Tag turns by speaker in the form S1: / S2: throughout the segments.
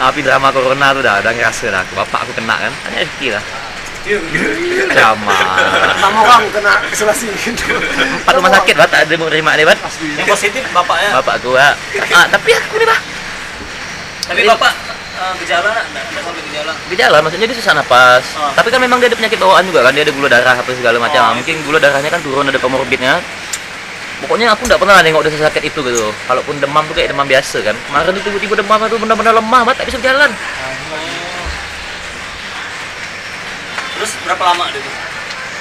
S1: tapi drama corona tuh dah, udah ngerasa dah aku bapak aku kena kan hanya rezeki lah drama
S2: Nama orang kan kena isolasi.
S1: empat rumah sakit bat tak ada menerima ni bat
S3: Yang positif bapaknya.
S1: bapak aku ah. ah tapi aku ni bah
S3: Tapi
S2: Iya.
S3: bapak eh, gejala enggak? Enggak sampai gejala.
S1: gejala maksudnya dia susah napas
S3: Oh.
S1: tapi kan memang dia ada penyakit bawaan juga kan dia ada gula darah apa segala macam
S3: Oh,
S1: Ah, mungkin gula darahnya kan turun ada komorbidnya pokoknya aku nggak pernah nengok dia sesakit itu gitu kalaupun demam tuh kayak demam biasa kan kemarin tuh tiba-tiba demam tuh benar-benar lemah banget tak bisa jalan
S3: Oh. Terus berapa lama dia tuh?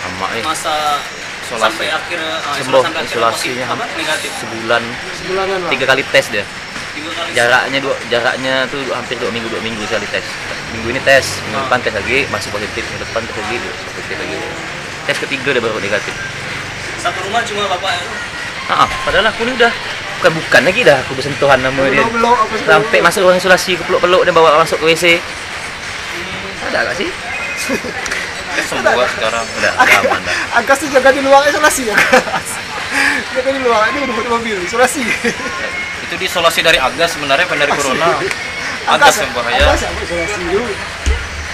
S1: lama nih
S3: Masa
S1: Isolasi.
S3: sampai akhirnya ah,
S1: Sembuh,
S3: sampai akhirnya
S1: isolasinya.
S4: ya.
S3: positif apa negatif?
S1: sebulan
S2: Sebulanan lah.
S1: tiga kali tes dia
S3: Tiga kali.
S4: Ya.
S1: jaraknya dua jaraknya tuh hampir dua minggu dua minggu sekali tes minggu ini tes minggu
S3: Ah.
S1: depan tes lagi masih positif minggu depan tes lagi positif lagi tes ketiga dia baru negatif
S3: Satu rumah cuma bapak ya? itu.
S1: ah ah, padahal aku ni udah bukan bukan lagi dah aku bersentuhan nama dia
S2: Belok-belok apa segala.
S1: sampai masuk ruang isolasi aku peluk-peluk dia bawa masuk ke WC ada tak sih
S4: Semua sekarang.
S1: Udah, udah aman dah
S2: Angkas tuh jaga di luar isolasi ya. Jaga di luar ini udah pakai mobil isolasi.
S4: Itu diisolasi dari Agas sebenarnya bukan dari Corona. Agas
S2: Angkas
S4: yang bahaya.
S2: Angkas ya, isolasi dulu.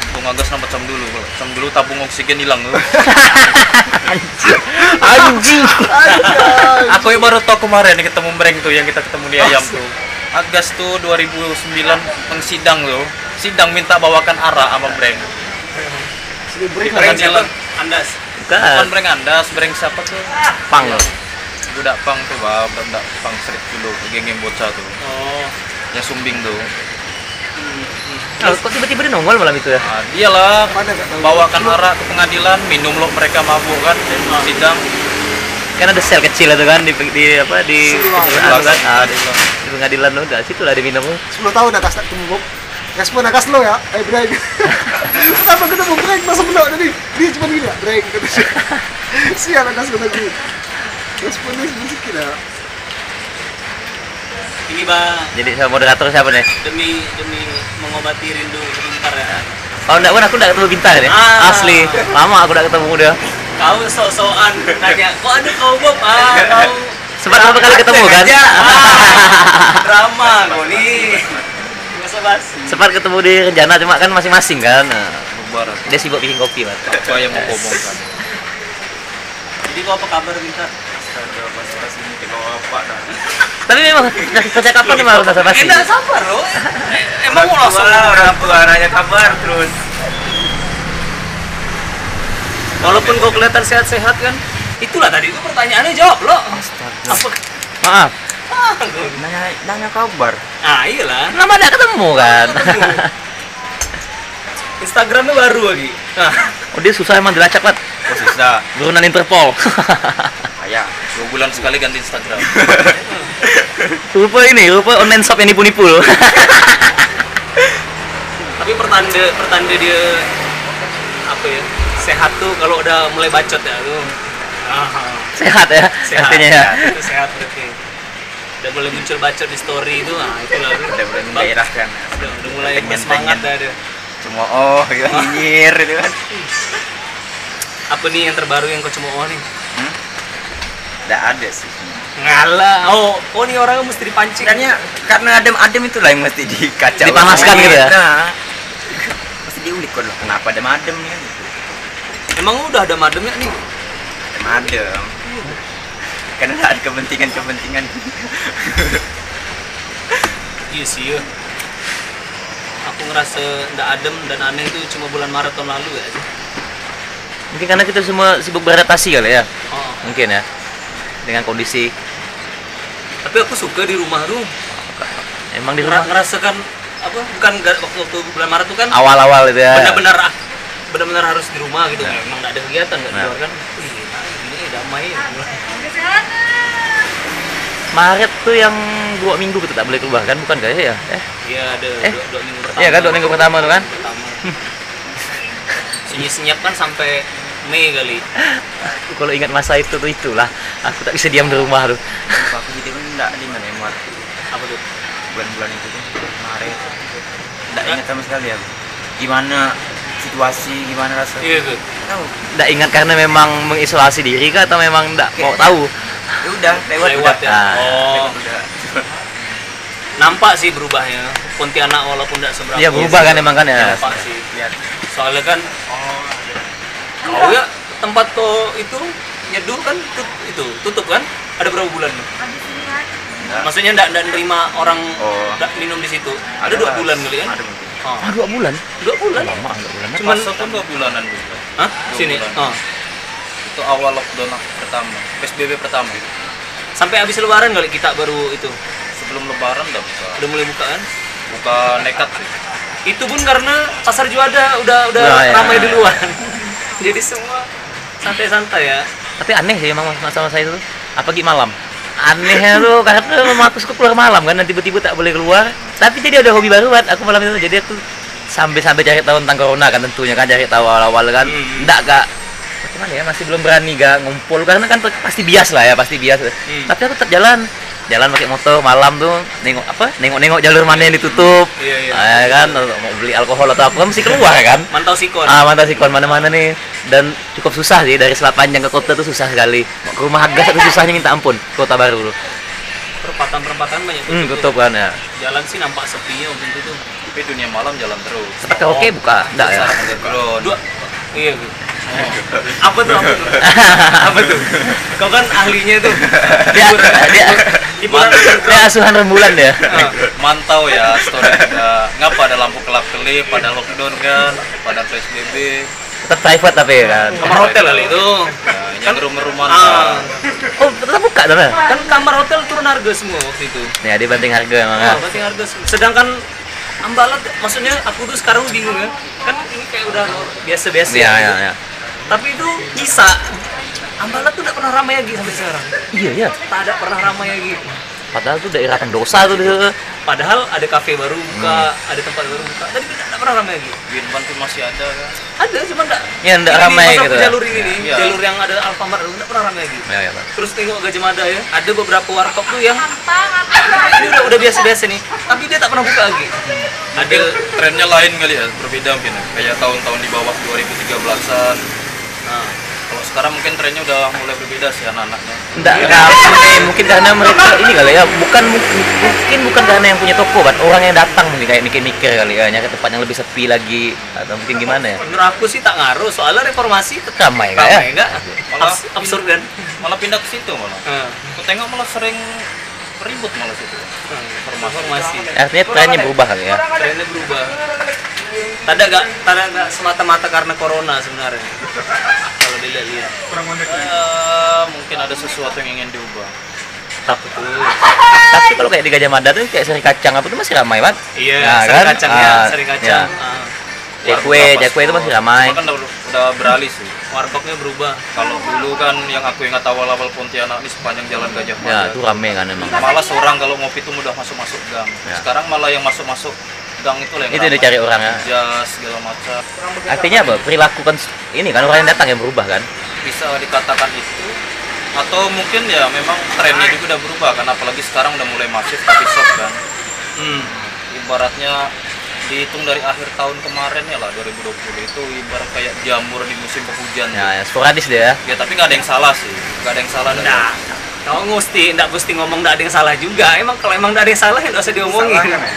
S4: Untung Agas nama cam dulu. Kalau Cam dulu tabung oksigen hilang. tuh.
S1: anjing
S2: Anjay.
S4: Aku yang baru tahu kemarin yang ketemu Breng tuh yang kita ketemu di
S3: Ah,
S4: ayam tuh. Agas tuh 2009 pengsidang tuh. Sidang minta bawakan arak sama Breng.
S2: Sudah break lah.
S4: Break.
S3: Brand siapa? Andas.
S1: bukan
S4: Bukan Breng Andas, Breng siapa tuh?
S1: pang loh
S4: Budak pang tuh, wah, budak pang serik dulu, geng yang bocah tuh.
S3: Oh.
S4: Yang sumbing tuh.
S1: Loh, Oh, kok tiba-tiba dia nongol malam itu ya
S4: Nah, dialah
S2: Mana nggak tahu.
S4: bawakan arak ke pengadilan, minum lo mereka mabuk kan,
S3: Ah.
S4: sidang.
S1: kan ada sel kecil itu kan di, di apa di
S2: Siluang.
S1: pengadilan kan ah, di, di pengadilan tuh dah situ lah dia minum
S2: 10 tahun Agas tak ketemu Bob. Respon Agas lo ya, eh break. Kenapa ketemu break masa belok tadi? Dia cuma gini ya, break. kata dia. Sial Agas kata gue. Respon dia cuma sikit ya.
S3: Ini bang
S1: jadi sama moderator siapa nih
S3: demi demi mengobati rindu sebentar ya.
S1: kalau enggak pun aku enggak ketemu bintang nih
S3: Ah.
S1: asli lama aku enggak ketemu dia
S3: Kau sok-sokan nanya, kok ada kau Bob? Ah, kau
S1: sempat berapa kali ketemu kan
S3: aja. Ah, drama kau nih. Nggak sebasi.
S1: sempat ketemu di rencana cuma kan masing-masing kan Nah,
S4: Bubar aku.
S1: dia sibuk bikin kopi mas
S4: Apa yang mau ngomongkan?
S3: Jadi kau apa kabar Bintar?
S1: tapi memang percakapan memang harus ada basi
S3: Enggak Eh, sabar loh. Emang mau langsung
S4: orang tua nanya kabar terus.
S3: Walaupun kau kelihatan sehat-sehat kan? Itulah tadi itu pertanyaannya jawab lo. Apa?
S1: maaf
S3: Ah,
S4: Nanya nanya kabar.
S3: Nah, iyalah.
S1: lama enggak ketemu kan
S3: Instagramnya baru lagi. Nah,
S1: oh dia susah emang dilacak banget
S4: Oh, susah.
S1: turunan Interpol
S4: Ayah, dua bulan sekali ganti Instagram.
S1: rupa ini rupa online shop yang nipu-nipu loh.
S3: tapi pertanda pertanda dia apa ya? Sehat tuh kalau udah mulai bacot ya tuh. Ah.
S1: sehat ya
S3: sehat
S1: artinya ya
S3: sehat, itu sehat berarti udah mulai muncul bacot di story itu ah itulah udah mulai
S4: daerahkan.
S3: udah, udah mulai
S4: Pengen-
S3: semangat dah
S4: pengen.
S3: dia
S4: Cuma oh, gitu, nyinyir gitu kan.
S3: apa nih yang terbaru yang kau cemooh nih
S4: Enggak ada sih.
S3: ngalah oh oh nih orangnya mesti dipancing
S4: karena adem-adem itulah yang mesti dikacau.
S1: Dipanaskan gitu ya?
S4: Nah, mesti diulik kok loh. Kenapa adem-adem kan?
S3: emang udah ada mademnya nih
S4: Adem-adem. Karena ada kepentingan-kepentingan.
S3: iya sih ya. aku ngerasa ndak adem dan aneh itu cuma bulan Maret tahun lalu ya sih
S1: mungkin karena kita semua sibuk beradaptasi kali ya
S3: oh.
S1: mungkin ya dengan kondisi
S3: tapi aku suka di rumah tuh
S1: emang di
S3: Ngera-
S1: rumah
S3: ngerasakan apa bukan ga- waktu waktu bulan Maret tuh kan
S1: awal-awal itu ya
S3: benar-benar ah, benar-benar harus di rumah gitu
S1: Iya.
S3: memang nggak ada kegiatan nggak di
S1: Nah.
S3: luar kan Ih, ini damai ya,
S1: Maret tuh yang dua minggu kita tak boleh keluar kan bukan kayaknya ya eh
S3: iya ada
S1: Eh.
S3: dua, dua minggu pertama
S1: Iya kan, dua minggu pertama tuh kan?
S3: pertama sunyi senyap kan sampai Mei kali
S1: kalau ingat masa itu tuh itulah aku tak bisa diam di rumah tuh
S4: Aku jadi pun enggak di mana MRT.
S3: apa tuh
S4: bulan-bulan itu tuh kemarin tidak ingat sama sekali ya gimana situasi gimana rasanya
S3: iya tuh
S4: tahu
S1: nggak ingat karena memang mengisolasi diri kah atau memang nggak mau tahu
S4: ya udah lewat,
S3: lewat
S4: udah.
S3: ya
S1: Ah.
S3: oh
S4: Lewat udah
S3: nampak sih berubahnya Pontianak walaupun tidak seberapa
S1: Iya, berubah kan emang kan ya.
S3: nampak sih lihat soalnya kan
S4: Oh,
S3: kau ya tempat kau itu nyeduh kan tut- itu tutup kan ada berapa bulan maksudnya ndak ndak nerima orang
S4: Oh.
S3: ndak minum di situ ada dua
S4: lah.
S3: bulan kali kan
S4: Ada mungkin.
S3: Oh,
S1: Ah, dua bulan?
S3: dua bulan
S1: Lama, dua bulan.
S3: Cuman-
S4: ya? Cuman satu dua bulanan dulu.
S3: Hah? sini
S4: bulan.
S3: Oh.
S4: Itu awal lockdown aku pertama, PSBB pertama.
S3: sampai habis lebaran kali kita baru itu
S4: Sebelum lebaran udah buka.
S3: udah mulai buka kan
S4: Buka nekat sih.
S3: itu pun karena pasar juada udah udah
S1: Nah, ya.
S3: ramai duluan jadi semua santai-santai ya
S1: Tapi aneh sih emang masalah saya itu. Apalagi malam. Anehnya tuh karena memang aku suka keluar malam kan dan tiba-tiba tak boleh keluar. Tapi jadi ada hobi baru buat aku malam itu jadi aku sampai-sampai cari tahu tentang corona kan tentunya kan cari tahu awal-awal kan.
S3: Hmm.
S1: Enggak kak gimana ya masih belum berani gak ngumpul karena kan pe- pasti bias lah ya pasti bias
S3: Hmm.
S1: tapi aku tetap jalan jalan pakai motor malam tuh nengok apa nengok-nengok jalur mana yang ditutup
S3: Iya, iya.
S1: Ah, kan mau beli alkohol atau apa kan mesti keluar kan
S3: mantau sikon
S1: Ah, mantap sih kon mana-mana nih. Dan cukup susah sih dari Selat Panjang ke kota tuh susah sekali. Mau Ke rumah harga satu susahnya minta ampun. Kota baru tuh.
S3: perempatan-perempatan banyak
S1: Hmm, tutup
S3: tutup
S1: kan ya.
S3: jalan sih nampak sepinya waktu itu tuh
S4: Tapi dunia malam jalan terus.
S1: Tempat karaoke buka? Enggak ya.
S4: Pasar underground.
S3: dua iya Bu. apa tuh apa tuh apa tuh kau kan ahlinya tuh
S1: Dia dia
S3: hiburan
S1: dia Ya, asuhan rembulan dia.
S3: Ah,
S4: Mantau ya story juga. Ngapa ada lampu kelap-kelip pada lockdown kan, pada PSBB.
S1: Tetap private tapi ya kan.
S3: kamar hotel kali itu
S4: Nah, yang rumah-rumah
S3: ah,
S4: kan.
S1: Oh, tetap buka tapi.
S3: kan kamar hotel turun harga semua waktu itu
S1: Ya, dia banting harga emang
S3: Ah,
S1: kan.
S3: berarti harga se- sedangkan ambalat maksudnya aku tuh sekarang bingung ya kan ini kayak udah biasa-biasa
S1: Iya,
S3: gitu.
S1: iya, iya.
S3: tapi itu bisa ambalat tuh gak pernah ramai lagi sampai sekarang
S1: Iya, iya.
S3: tak ada pernah ramai lagi
S1: Padahal tuh daerah pendosa tuh dia.
S3: padahal ada kafe baru buka
S4: Hmm.
S3: ada tempat baru buka tapi tidak pernah ramai lagi
S4: Winban tuh masih ada kan.
S3: ada cuma enggak
S1: Ya, nggak ramai gitu ya.
S3: jalur ini nih
S4: Iya.
S3: jalur yang ada Alfamart itu nggak pernah ramai lagi
S1: Ya, ya, Pak.
S3: terus tengok Gajah Mada ya ada beberapa warkop tuh yang ini udah udah biasa-biasa nih tapi dia tak pernah buka lagi
S4: Mungkin
S3: ada
S4: trennya lain kali ya, berbeda mungkin. ya. Kayak tahun-tahun di bawah 2013-an.
S3: nah,
S4: Kalau sekarang mungkin trennya udah mulai berbeda sih anak-anaknya.
S1: Enggak ramai, mungkin karena mereka ini kali ya, bukan mungkin bukan karena yang punya toko, kan orang yang datang mungkin kayak mikir-mikir kali ya, nyari tempat yang lebih sepi lagi atau mungkin gimana ya?
S3: menurut aku sih tak ngaruh soalnya reformasi tetap
S1: Ramai enggak ya?
S3: ramai enggak
S4: Malah-
S3: Abs- absurd kan
S4: Malah pindah ke situ malah. Aku tengok malah sering ribut malah situ.
S3: reformasi
S1: Artinya trennya berubah kali ya.
S3: trennya berubah Tanda gak, tanda gak semata-mata karena corona sebenarnya kalau dilihat-lihat
S4: Eh, mungkin ada sesuatu yang ingin diubah.
S1: Tapi, tapi kalau kayak di Gajah Mada tuh kayak seri kacang apa tuh masih ramai banget.
S3: iya
S1: Nah,
S3: sering
S1: kan?
S3: kacang ya
S1: Ah,
S3: sering kacang
S1: ya.
S3: Ah,
S1: Jakwe, jakwe itu masih ramai.
S4: Kan udah, udah beralih sih.
S3: warkopnya berubah
S4: Kalau dulu kan yang aku ingat awal-awal Pontianak ini sepanjang jalan Gajah Mada.
S1: Ya, itu ramai kan emang.
S4: malah seorang kalau ngopi itu mudah masuk-masuk gang.
S1: Ya.
S4: Sekarang malah yang masuk-masuk gang itu lah yang
S1: Itu yang dicari orang ya.
S4: Jas segala macam.
S1: Artinya apa? Perilaku kan ini kan orang yang datang yang berubah kan.
S4: Bisa dikatakan itu atau mungkin ya memang trennya juga udah berubah kan apalagi sekarang udah mulai masif coffee shop kan.
S3: hmm.
S4: Ibaratnya dihitung dari akhir tahun kemarin ya lah 2020 itu ibarat kayak jamur di musim penghujan. Ya,
S1: Ya, ya sporadis dia ya.
S4: tapi nggak ada yang salah sih. Nggak ada yang salah dari
S3: nah kau ngusti nggak mesti ngomong nggak ada yang salah juga emang kalau emang nggak ada yang salah nggak usah
S5: Oh, iya.
S3: diomongin
S4: kan?
S2: Salahkan ya.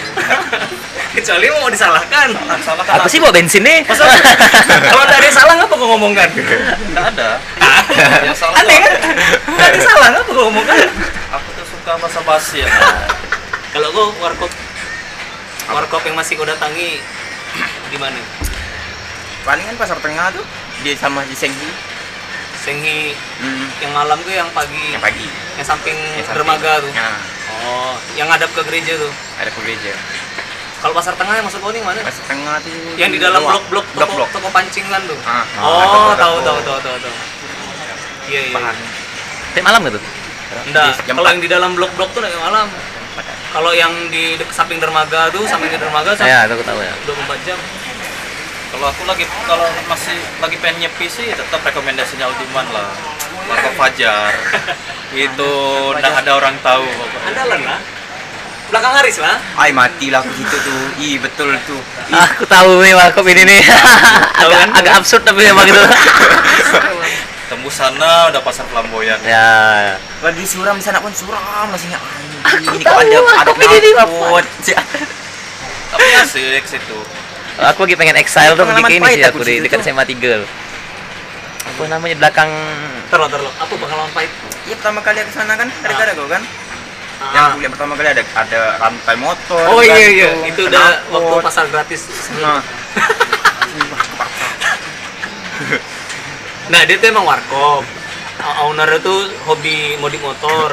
S3: kecuali mau disalahkan
S4: salah kan
S1: Apa sih bawa bensin nih?
S3: Masa- kalau nggak ada yang salah ngapa kau ngomongkan
S4: nggak ada. yang salah
S3: aneh
S4: tuh
S3: kan nggak ada yang salah ngapa kau ngomongkan
S4: aku tuh suka bahasa basi ya.
S3: Kalau gua warkop warkop yang masih kau datangi di mana?
S5: palingan kan pasar tengah tuh dia sama di Senghi
S3: Sengi
S5: hmm.
S3: yang malam tuh yang pagi
S5: yang pagi
S3: yang samping
S4: Hmm,
S5: yang samping.
S3: dermaga tuh.
S5: nah
S3: Oh, yang ngadap ke gereja tuh.
S5: ada ke gereja
S3: Kalau pasar tengah yang maksud kau nih mana?
S5: pasar tengah tuh
S3: Yang di dalam
S5: luar.
S3: blok-blok
S5: blok
S3: toko,
S5: blok
S3: toko pancingan tuh.
S5: Ah,
S3: oh,
S5: toko-toko.
S3: tahu tahu tahu tahu tahu. Iya iya.
S5: bahan
S1: Tiap malam gitu.
S3: Enggak,
S5: Jam
S3: kalau
S5: empat.
S3: yang di dalam blok-blok tuh yang malam. Kalau yang di dek- samping dermaga tuh, samping dermaga sampai
S1: Ya, aku tahu ya.
S3: 24 jam.
S4: Kalau aku lagi kalau masih lagi pengen nyepi sih tetap rekomendasinya Ultiman lah. Marco Fajar. Itu udah ada orang tahu pokoknya.
S3: Andalan lah. nah. Belakang Haris lah.
S5: ay matilah aku situ tuh ih betul tuh
S1: Aku tahu nih warkop ini nih. agak, agak absurd tapi memang gitu.
S4: Tembus sana udah pasar flamboyan.
S1: ya.
S5: kalau di suram di sana pun suram masihnya ay Aku
S1: tahu, aku pilih di
S5: knalpot.
S4: tapi iya asik situ
S1: Aku lagi pengen exile tuh
S5: Pengalaman
S1: lagi ini
S5: pahit
S1: sih
S5: aku
S1: aku di
S5: di situ.
S1: dekat SMA 3. Apa namanya belakang
S3: terlalu terlalu apa pengalaman pahit
S5: Iya pertama kali aku sana kan gara-gara kau kan. Yang
S3: Ah.
S5: aku lihat pertama kali ada ada rantai motor.
S3: oh iya
S5: gantung,
S3: iya itu udah
S5: knalpot.
S3: waktu pasar gratis
S4: Ah.
S5: Nah,
S3: nah dia tuh emang warkop O- owner tuh hobi modif motor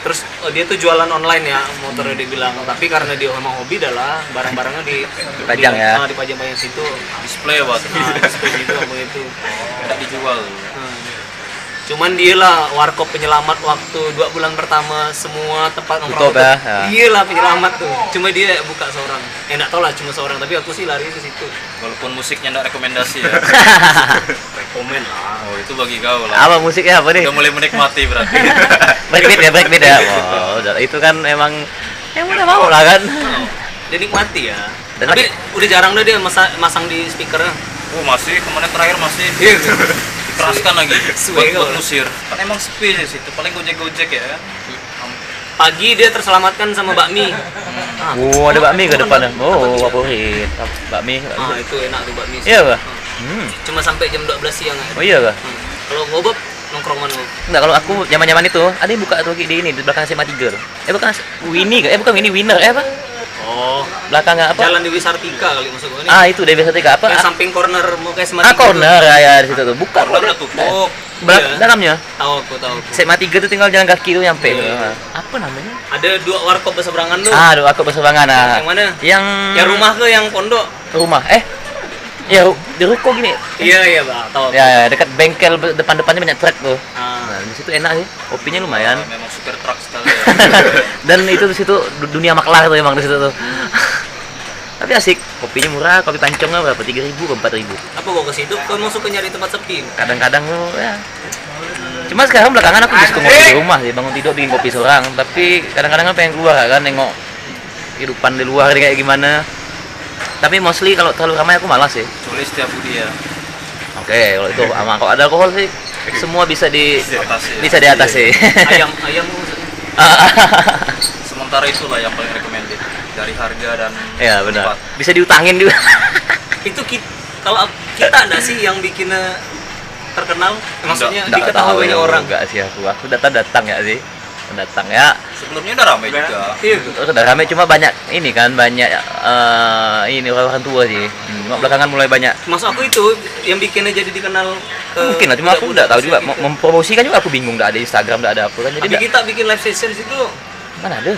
S3: terus eh, dia tuh jualan online ya motornya dia bilang tapi karena dia emang hobi adalah barang-barangnya di
S1: Dipajang
S3: di-
S1: ya?
S3: ah, dipajang banyak situ
S4: display waktu itu
S3: nah, seperti itu apa itu
S4: nggak dijual
S3: Hmm. Cuman dia lah warkop penyelamat waktu dua bulan pertama semua tempat nongkrong
S1: Tutup ya,
S3: tutup.
S1: ya.
S3: Dia lah penyelamat tuh. Cuma dia buka seorang. Ya enggak tahu lah cuma seorang tapi aku sih lari ke situ.
S4: walaupun musiknya nggak rekomendasi ya
S3: Rekomen lah.
S4: oh itu bagi kau lah
S1: apa musiknya apa nih?
S4: udah mulai menikmati berarti
S1: Breakbeat ya, breakbeat ya. Wow, udah- itu kan emang emang udah mau lah kan.
S3: Dia nikmati ya.
S1: Dan
S3: tapi
S1: lagi-
S3: udah jarang dah dia masa- masang di speakernya.
S4: oh masih kemarin terakhir masih
S3: Iya.
S4: dikeraskan lagi buat
S3: Suwe kau.
S4: buat musir kan emang sepi sih situ paling gojek gojek ya kan?
S3: Pagi dia terselamatkan sama bakmi. Ah,
S1: Wow, ada bakmi ke depan. Oh, favorit. Bakmi.
S3: ah,
S1: bakmi.
S3: itu enak tuh bakmi.
S1: Iya kah?
S3: Ah.
S1: Hmm.
S3: Cuma sampai jam 12 siang aja.
S1: Oh iya Oh. kah?
S3: Hmm. Kalau ngobok nongkrong mana? Bob?
S1: Enggak, kalau aku zaman-zaman itu ada yang buka tuh Ki, di ini di belakang SMA 3 tuh. Eh bukan Winnie kah? Eh bukan Winnie, Winner eh apa?
S3: Oh,
S1: Belakang apa?
S3: jalan di Wisartika kali maksud gua ini.
S1: Ah, itu dari biasa tiga apa?
S3: Yang
S1: Ah,
S3: samping corner mau kayak
S1: ah,
S3: semacam
S1: corner ya, ya, di situ tuh. Buka
S4: Udah
S1: kok.
S4: udah tutup
S1: Belak
S3: Oh, Iya.
S1: dalamnya.
S3: Tahu aku tahu. aku.
S1: SMA 3 tuh tinggal jalan kaki tuh nyampe
S3: Iya.
S1: tuh. Ah, Apa namanya?
S3: Ada dua warkop berseberangan tuh.
S1: Ah, aduh aku bersebangan ah.
S3: Yang mana?
S1: Yang
S3: Yang rumah ke yang pondok?
S1: Rumah. Eh. Ya, ru- di ruko gini.
S3: Iya iya Pak, tahu. aku.
S1: Ya, ya, dekat bengkel be- depan-depannya banyak truk tuh.
S3: Ah,
S1: Nah, di situ enak sih. Kopinya lumayan.
S4: memang supir truk sekali ya.
S1: dan itu di situ du- dunia maklar tuh emang di situ tuh tapi asik kopinya murah kopi pancongnya berapa tiga ribu empat ribu
S3: apa gua ke situ? Kau emang suka nyari tempat sepi?
S1: kadang-kadang lu ya cuma sekarang belakangan aku justru ngopi di rumah sih bangun tidur bikin kopi seorang tapi kadang-kadang kan pengen keluar kan nengok kehidupan di luar kayak gimana tapi mostly kalau terlalu ramai aku malas sih
S4: Kecuali setiap budi ya
S1: oke kalau itu sama kalau ada alkohol sih semua bisa di
S4: atasi ya.
S1: Iya. bisa diatasi
S3: Ayam ayam
S4: sementara itulah yang paling recommended dari harga dan
S1: ya benar
S4: tempat.
S1: bisa diutangin juga
S3: itu kita kalau kita enggak sih yang bikin eh, terkenal maksudnya
S1: Nggak ya.
S3: diketahui banyak orang.
S1: enggak sih aku aku datang datang ya sih datang ya
S4: sebelumnya udah ramai juga
S3: Iya.
S1: terus udah rame cuma banyak ini kan banyak eh, ini orang tua sih hmm, cuma belakangan mulai banyak
S3: Maksud aku itu yang bikinnya jadi dikenal ke
S1: mungkin lah cuma aku
S3: budak-budak
S1: nggak tahu juga
S3: sekitar.
S1: Mem- mempromosikan juga aku bingung nggak ada Instagram nggak ada apa kan jadi
S3: Tapi
S1: nggak-
S3: kita bikin live session situ
S1: mana ada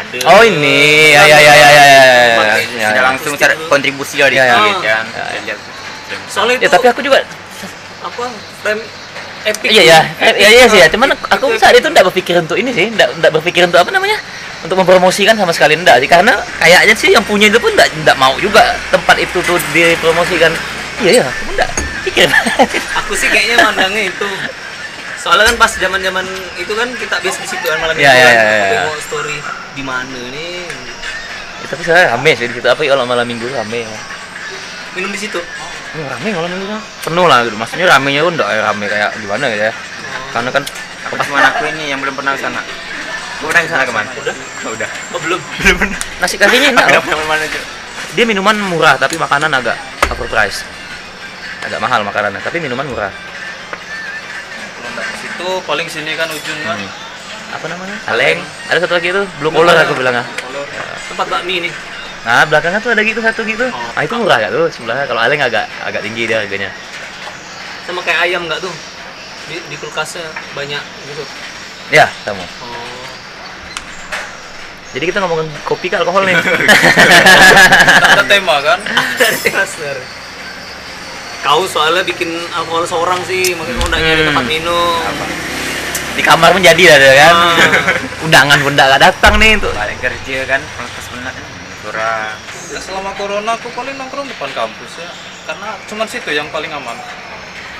S3: ada.
S1: oh ini ya ya ya ya ya ya, ya, ya, ya,
S5: Sudah
S1: ya.
S5: langsung cari kontribusi lah di
S3: Ya,
S1: Iya, iya.
S3: Oh.
S5: sini kan.
S1: Iya, iya.
S3: Soalnya
S1: Ya,
S3: itu
S1: tapi aku juga
S3: apa frame epic.
S1: iya ya
S3: Epic.
S1: iya iya sih ya
S3: Ah,
S1: cuman
S3: itu-
S1: aku
S3: itu
S1: saat
S3: epic.
S1: itu nggak berpikir untuk ini sih nggak nggak berpikir untuk apa namanya untuk mempromosikan sama sekali ndak sih karena kayaknya sih yang punya itu pun nggak nggak mau juga tempat itu tuh dipromosikan iya ya aku nggak pikir
S3: aku sih kayaknya mandangnya itu soalnya kan pas zaman zaman itu kan kita biasa di situ kan malam
S1: Iya,
S3: mingguan,
S1: iya, iya,
S3: aku
S1: iya.
S3: mau story di mana nih
S1: Ya, tapi saya rame sih di situ apa kalau malam minggu rame ya
S3: minum di situ
S1: Ini Hmm, rame malam minggu mah. penuh lah gitu maksudnya ramenya pun nggak rame kayak gimana gitu ya karena kan
S5: Aku cuma aku ini yang belum pernah ke sana. Kau pernah ke sana kemana? Udah. Udah.
S3: oh, belum
S1: nasi kasinya enak
S5: Udah
S1: loh.
S5: pernah kemana aja?
S1: dia minuman murah tapi makanan agak overpriced agak mahal makanannya tapi minuman murah
S4: kalau nggak ke situ paling sini kan ujung kan
S1: Hmm. apa namanya kaleng ada satu lagi itu blue collar aku bilang ah
S3: tempat bakmi nih
S1: Nah, belakangnya tuh ada gitu satu gitu. Ah, itu murah gak tuh sebelahnya? Kalau Aleng agak agak tinggi dia harganya.
S3: sama kayak ayam nggak tuh di, di kulkasnya banyak gitu
S1: Ya, sama.
S3: oh
S1: Jadi kita ngomongin kopi ke alkohol nih.
S4: Nggak ada tema kan
S3: dari klaster kau soalnya bikin alkohol seorang sih makanya kau nggak nyari
S1: Hmm.
S3: tempat minum
S1: Di kamar pun jadi lah dia kan.
S3: Ah.
S1: Undangan pun gak datang nih untuk
S5: Balik kerja kan, pas penat kan. Kurang.
S4: Ya, selama corona aku paling nongkrong depan kampus ya karena cuma situ yang paling aman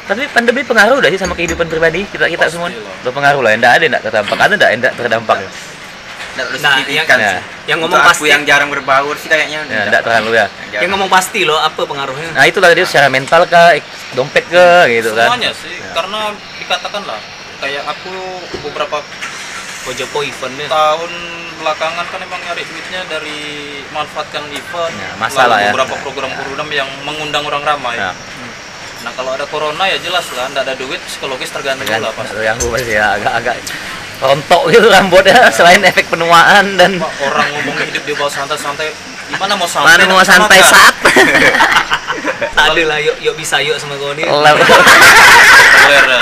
S1: Tapi pandemi pengaruh gak sih sama kehidupan pribadi kita kita
S4: Pasti
S1: semua?
S4: lah. Iya,
S1: Berpengaruh lah, enggak ada enggak terdampak. Ada enggak enggak terdampak? Ya,
S5: Nggak perlu
S3: Nah,
S5: signifikan
S1: yang-
S5: sih.
S3: yang
S5: kan. Untuk
S3: ngomong
S5: aku
S3: pasti-
S5: yang jarang berbaur sih kayaknya.
S4: iya.
S1: Ya, enggak terlalu ya.
S5: Jarang.
S3: yang ngomong pasti loh apa pengaruhnya
S1: Nah, itulah dia secara mental kah, ek- dompet ke gitu kan.
S4: semuanya sih karena dikatakan lah kayak aku beberapa
S3: Kojopo eventnya
S4: tahun belakangan kan emang nyari duitnya dari manfaatkan event
S1: Ya, masalah ya.
S4: lalu beberapa program program yang mengundang orang ramai
S1: Ya.
S4: nah kalau ada corona ya jelas lah nggak ada duit psikologis terganggu
S1: Kan,
S4: lah pasti Iya.
S1: terganggu pasti ya agak-agak rontok gitu rambutnya selain efek penuaan dan
S4: Pak, orang ngomong hidup di bawah santai-santai gimana mau santai
S1: mana mau
S4: dan
S1: santai
S4: makan?
S1: saat Eh,
S3: tak ada lah yuk yuk bisa yuk sama
S4: Iya.
S3: kau ni
S1: Oh.
S4: Teler, ya.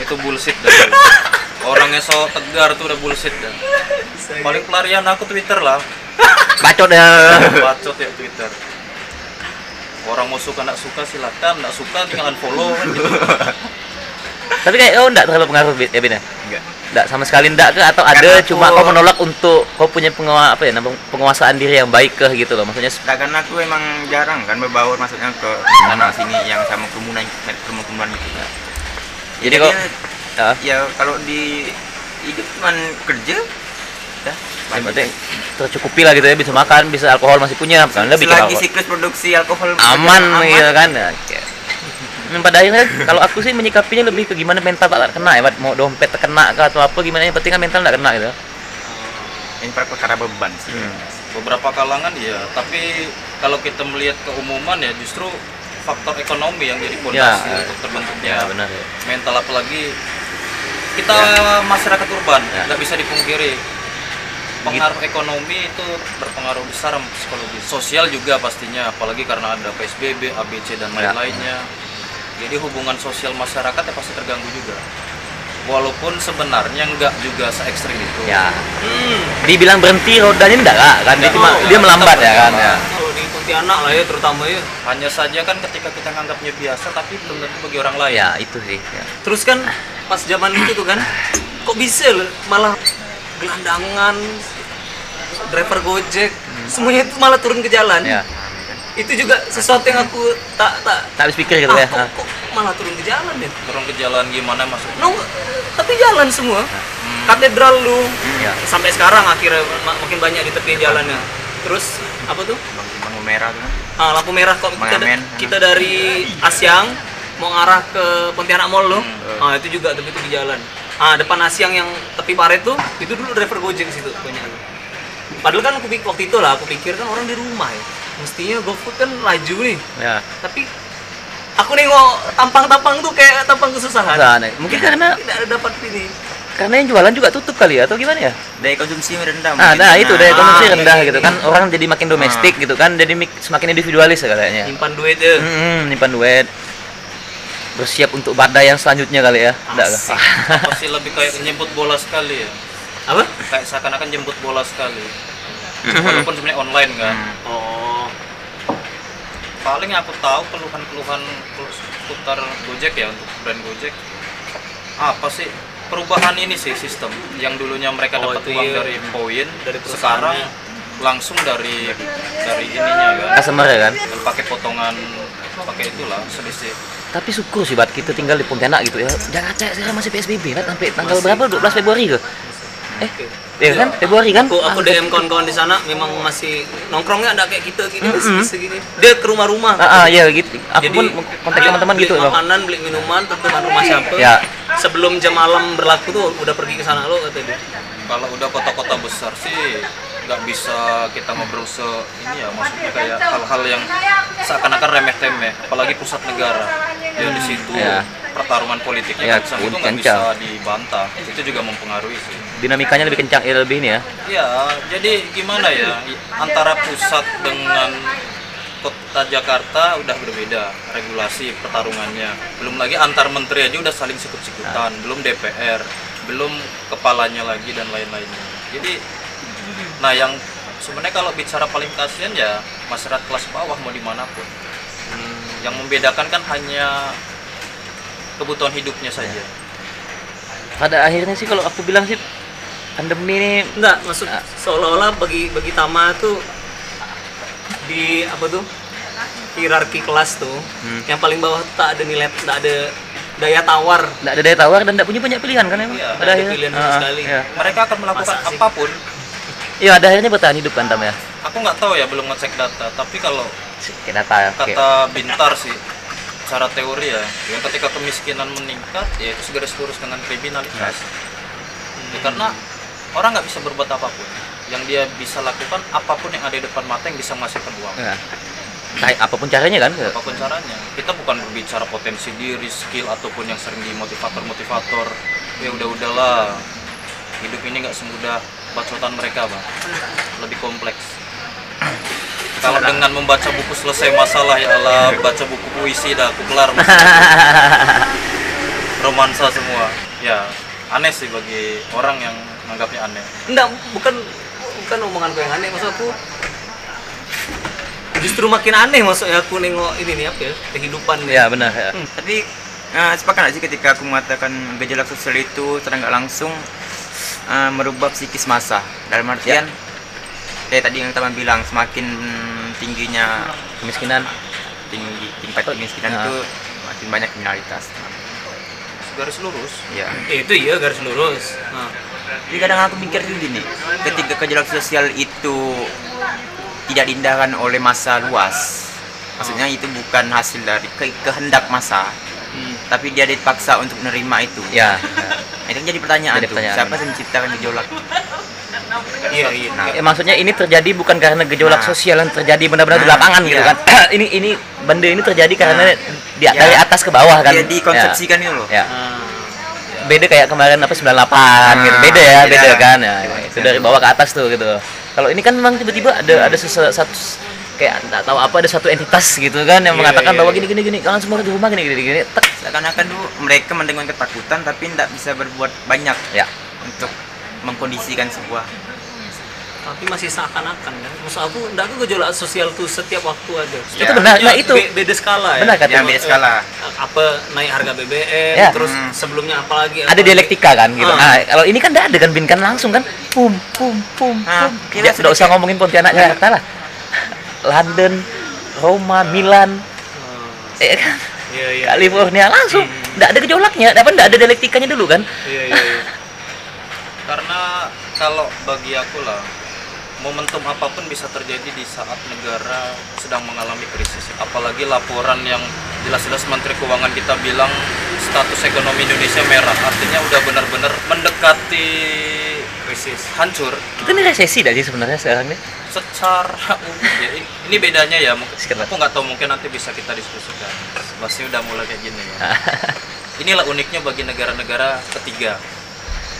S4: itu bullshit dah orangnya so tegar tuh udah bullshit dah paling pelarian aku twitter lah
S1: bacot ya
S4: bacot ya Twitter orang mau suka nggak suka silakan nggak suka tinggal unfollow kan gitu.
S1: Tapi kayak kau enggak terlalu pengaruh Bin, ya Bin ya?
S5: Enggak.
S1: Enggak sama sekali enggak ke atau ada
S5: Karena
S1: cuma
S5: aku-
S1: kau menolak untuk kau punya pengawa apa ya nama- penguasaan diri yang baik ke gitu loh maksudnya se-
S5: Nah, karena aku emang jarang kan berbaur maksudnya ke sana sini yang sama kerumunan kerumunan itu ya.
S1: jadi
S5: Jadi
S1: kau Ah,
S5: ya kalau di hidup cuman kerja dah
S1: yang penting tercukupi lah gitu ya bisa makan bisa alkohol masih punya kan lebih
S5: selagi
S1: aman,
S5: siklus produksi alkohol
S1: aman gitu kan ya, kayak- Hmm, pada akhirnya kalau aku sih menyikapinya lebih ke gimana mental tak kena ya Bat. mau dompet terkena ke atau apa gimana yang penting kan mental nggak kena gitu
S5: ini perkara beban sih
S1: Hmm.
S4: beberapa kalangan ya tapi kalau kita melihat keumuman ya justru faktor ekonomi yang jadi fondasi
S1: Ya.
S4: untuk terbentuknya
S1: ya benar ya.
S4: mental apalagi kita masyarakat urban
S1: Ya. Gitu.
S4: nggak bisa dipungkiri pengaruh ekonomi itu berpengaruh besar sama psikologi sosial juga pastinya apalagi karena ada PSBB, ABC dan
S1: Ya.
S4: lain-lainnya jadi hubungan sosial masyarakat ya pasti terganggu juga walaupun sebenarnya nggak juga se ekstrim itu
S1: ya
S3: hmm
S1: dibilang berhenti rodanya enggak lah kan dia
S4: Nggak,
S1: cuma
S4: oh,
S1: dia
S4: tetap
S1: melambat ya kan ya
S3: kalau di Pontianak lah ya terutama ya
S4: hanya saja kan ketika kita nganggapnya biasa tapi belum tentu bagi orang lain
S1: ya itu sih ya.
S3: terus kan pas zaman itu tuh kan kok bisa loh malah gelandangan driver gojek semuanya itu malah turun ke jalan
S1: Hmm. Ya.
S3: itu juga sesuatu yang aku tak tak
S1: tak habis pikir gitu
S3: ah,
S1: ya
S3: kok,
S1: Hah.
S3: kok malah turun ke jalan ya
S4: turun ke jalan gimana masuk
S3: no, tapi jalan semua
S1: Hmm.
S3: katedral lu
S1: ya
S3: sampai sekarang akhirnya ma- makin banyak di tepi jalannya terus apa tuh
S5: bang bang merah tuh kan
S3: Ah, lampu merah kok kita,
S5: Mengamen.
S3: kita dari Asiang mau ngarah ke Pontianak Mall loh.
S1: Hmm.
S3: Ah, itu juga tepi tepi jalan. Ah, depan Asiang yang tepi paret tuh, itu dulu driver Gojek situ banyak. Padahal kan aku pik- waktu itu lah aku pikir kan orang di rumah ya. Mestinya GoFood kan laju nih.
S1: ya
S3: Tapi aku nengok tampang-tampang tuh kayak tampang kesusahan.
S1: Susah, nih. mungkin karena
S3: Tidak ada dapat ini.
S1: karena yang jualan juga tutup kali ya atau gimana ya
S5: daya konsumsi rendah
S1: nah,
S5: mungkin.
S1: nah itu daya konsumsi
S3: iya,
S1: rendah
S3: iya,
S1: gitu
S3: iya. Ah.
S1: kan orang jadi makin domestik gitu kan jadi mik- semakin individualis ya kayaknya
S3: Nyimpan duit ya.
S1: hmm, nyimpan duit bersiap untuk badai yang selanjutnya kali ya enggak lah.
S3: Asik.
S4: pasti lebih kayak jemput bola sekali ya
S3: Apa?
S4: kayak seakan-akan jemput bola sekali walaupun sebenarnya online kan
S3: Oh.
S4: paling yang aku tahu keluhan-keluhan seputar Gojek ya untuk brand Gojek apa sih perubahan ini sih sistem yang dulunya mereka
S3: Oh,
S4: dapat
S3: itu
S4: uang
S3: iya.
S4: dari poin
S3: Dari
S4: sekarang
S3: perusahaannya.
S4: langsung dari dari ininya kan
S1: customer ya kan
S4: Dan pakai potongan pakai itulah selisih
S1: tapi syukur sih bat kita tinggal di Pontianak gitu ya jangan cek sekarang masih PSBB kan sampai tanggal berapa 12 Februari ke eh ya kan Februari kan
S3: aku aku
S1: Ah,
S3: DM kawan-kawan di sana memang masih nongkrongnya ada kayak kita gini
S1: Mm-mm.
S3: segini dia ke rumah-rumah
S1: ah, ah, ya gitu aku
S3: Jadi, Ah, iya.
S1: pun kontak
S3: beli-
S1: teman-teman gitu
S3: beli
S1: loh
S3: makanan beli minuman teman rumah siapa
S1: Ya.
S3: sebelum jam malam berlaku tuh udah pergi ke sana lo kata dia
S4: kalau udah kota-kota besar sih nggak bisa kita ngobrol se ini ya maksudnya kayak hal-hal yang seakan-akan remeh-temeh apalagi pusat negara dan di situ
S1: Ya.
S4: pertarungan politiknya
S1: Ya,
S4: kan sama itu nggak bisa
S1: kencang.
S4: dibantah itu juga mempengaruhi sih
S1: dinamikanya lebih kencang ya lebih ini ya
S4: ya jadi gimana ya antara pusat dengan kota Jakarta udah berbeda regulasi pertarungannya belum lagi antar menteri aja udah saling sikut-sikutan belum DPR belum kepalanya lagi dan lain-lainnya jadi nah yang sebenarnya kalau bicara paling kasihan ya masyarakat kelas bawah mau dimanapun Hmm, yang membedakan kan hanya kebutuhan hidupnya
S3: Iya.
S4: saja
S1: pada akhirnya sih kalau aku bilang sih pandemi ini
S3: enggak maksud
S1: Ah.
S3: seolah-olah bagi bagi Tama tuh di apa tuh hierarki kelas tuh yang paling bawah tuh tak ada nilai tak ada daya tawar
S1: nggak ada daya tawar dan nggak punya banyak pilihan kan emang
S4: Iya,
S1: pada
S3: nggak ada
S1: akhirnya
S3: pilihan sama
S1: Ah,
S3: sekali.
S1: iya.
S4: mereka akan melakukan
S3: Masa sih?
S4: apapun
S1: iya ada akhirnya bertahan hidup kan tam ya
S4: aku nggak tahu ya belum ngecek data tapi kalau
S1: kayak data ya kayak
S4: kata bintar sih cara teori ya yang ketika kemiskinan meningkat ya itu segera lurus dengan kriminalitas Ya, karena orang nggak bisa berbuat apapun. Yang dia bisa lakukan apapun yang ada di depan mata yang bisa menghasilkan uang.
S1: Nah, kayak apapun caranya kan
S4: Apapun caranya. Kita bukan berbicara potensi diri, skill ataupun yang sering di motivator-motivator. Ya udah udahlah. Hidup ini nggak semudah bacotan mereka, Bang. Lebih kompleks. Kalau dengan membaca buku selesai masalah ya Allah, baca buku puisi dah aku kelar masalah. romansa semua. Ya, aneh sih bagi orang yang menganggapnya aneh.
S3: Enggak, bukan bukan omongan gue yang aneh maksud aku. Justru makin aneh maksudnya aku nengok ini nih apa ya? Kehidupan nih.
S1: ya benar ya.
S5: Hmm, Tapi eh, sepakat nggak sih ketika aku mengatakan gejolak sosial itu secara nggak langsung eh, merubah psikis massa dalam artian
S1: Ya.
S5: kayak tadi yang teman bilang semakin tingginya
S1: kemiskinan
S5: tinggi tingkat kemiskinan
S1: Ya.
S5: itu makin banyak kriminalitas.
S4: Garis lurus.
S5: Ya.
S3: Ya, itu iya garis lurus. Nah,
S5: Jadi kadang aku mikir tuh gini, ketika gejolak sosial itu tidak diindahkan oleh masa luas, maksudnya itu bukan hasil dari ke- kehendak masa, tapi dia dipaksa untuk menerima itu.
S1: Hmm. ya
S5: Nah, itu jadi pertanyaan,
S1: Jadi
S5: tuh,
S1: pertanyaan.
S5: siapa yang menciptakan gejolak?
S3: iya iya.
S5: Nah,
S1: Ya, maksudnya ini terjadi bukan karena gejolak
S5: Nah.
S1: sosial yang terjadi benar-benar di
S5: Nah,
S1: lapangan gitu
S5: iya.
S1: kan ini ini benda ini terjadi karena
S5: Nah.
S1: di, dari
S5: Ya.
S1: atas ke bawah kan
S5: Dia dikonsepsikan itu loh.
S1: ya, ya.
S3: Nah.
S1: beda kayak kemarin apa 98 gitu.
S5: Nah,
S1: Beda ya,
S5: beda.
S1: beda kan. Ya,
S5: Beda.
S1: itu dari bawah ke atas tuh gitu. Kalau ini kan memang tiba-tiba ada ada sese- satu kayak nggak tahu apa ada satu entitas gitu kan yang
S3: Iya,
S1: mengatakan
S3: iya,
S1: bahwa
S3: iya.
S1: gini gini gini kalian semua harus di rumah gini gini gini tek
S5: Seakan-akan tuh mereka mendengar ketakutan tapi tidak bisa berbuat banyak
S1: ya
S5: untuk mengkondisikan sebuah
S3: tapi masih seakan-akan kan maksud aku enggak aku gejolak sosial tuh setiap waktu ada
S5: Ya.
S1: itu benar nah itu
S3: Be- beda skala ya
S1: benar kata
S5: yang beda skala.
S3: apa naik harga BBM
S1: Ya.
S3: terus
S5: Hmm.
S3: sebelumnya apa lagi
S1: ada dialektika kan gitu.
S3: Ah.
S1: Nah, kalau ini kan enggak ada kan binkan langsung kan. Pum pum pum.
S5: Ah,
S1: pum.
S5: iya,
S1: Ya, sudah usah
S5: sedikit.
S1: ngomongin Pontianak
S3: Iya.
S1: Jakarta lah. London, Roma, Milan, eh kan,
S3: iya iya Hmm.
S1: California langsung. Enggak ada gejolaknya, apa enggak ada dialektikanya dulu kan?
S3: iya iya iya.
S4: karena kalau bagi aku lah momentum apapun bisa terjadi di saat negara sedang mengalami krisis apalagi laporan yang jelas-jelas Menteri Keuangan kita bilang status ekonomi Indonesia merah artinya udah benar-benar mendekati krisis hancur
S1: Kita ini resesi dah sih sebenarnya sekarang nih.
S4: secara umum ya, ini- ini bedanya ya mungkin
S1: Sekitar.
S4: aku nggak tahu mungkin nanti bisa kita diskusikan pasti udah mulai kayak gini ya inilah uniknya bagi negara-negara ketiga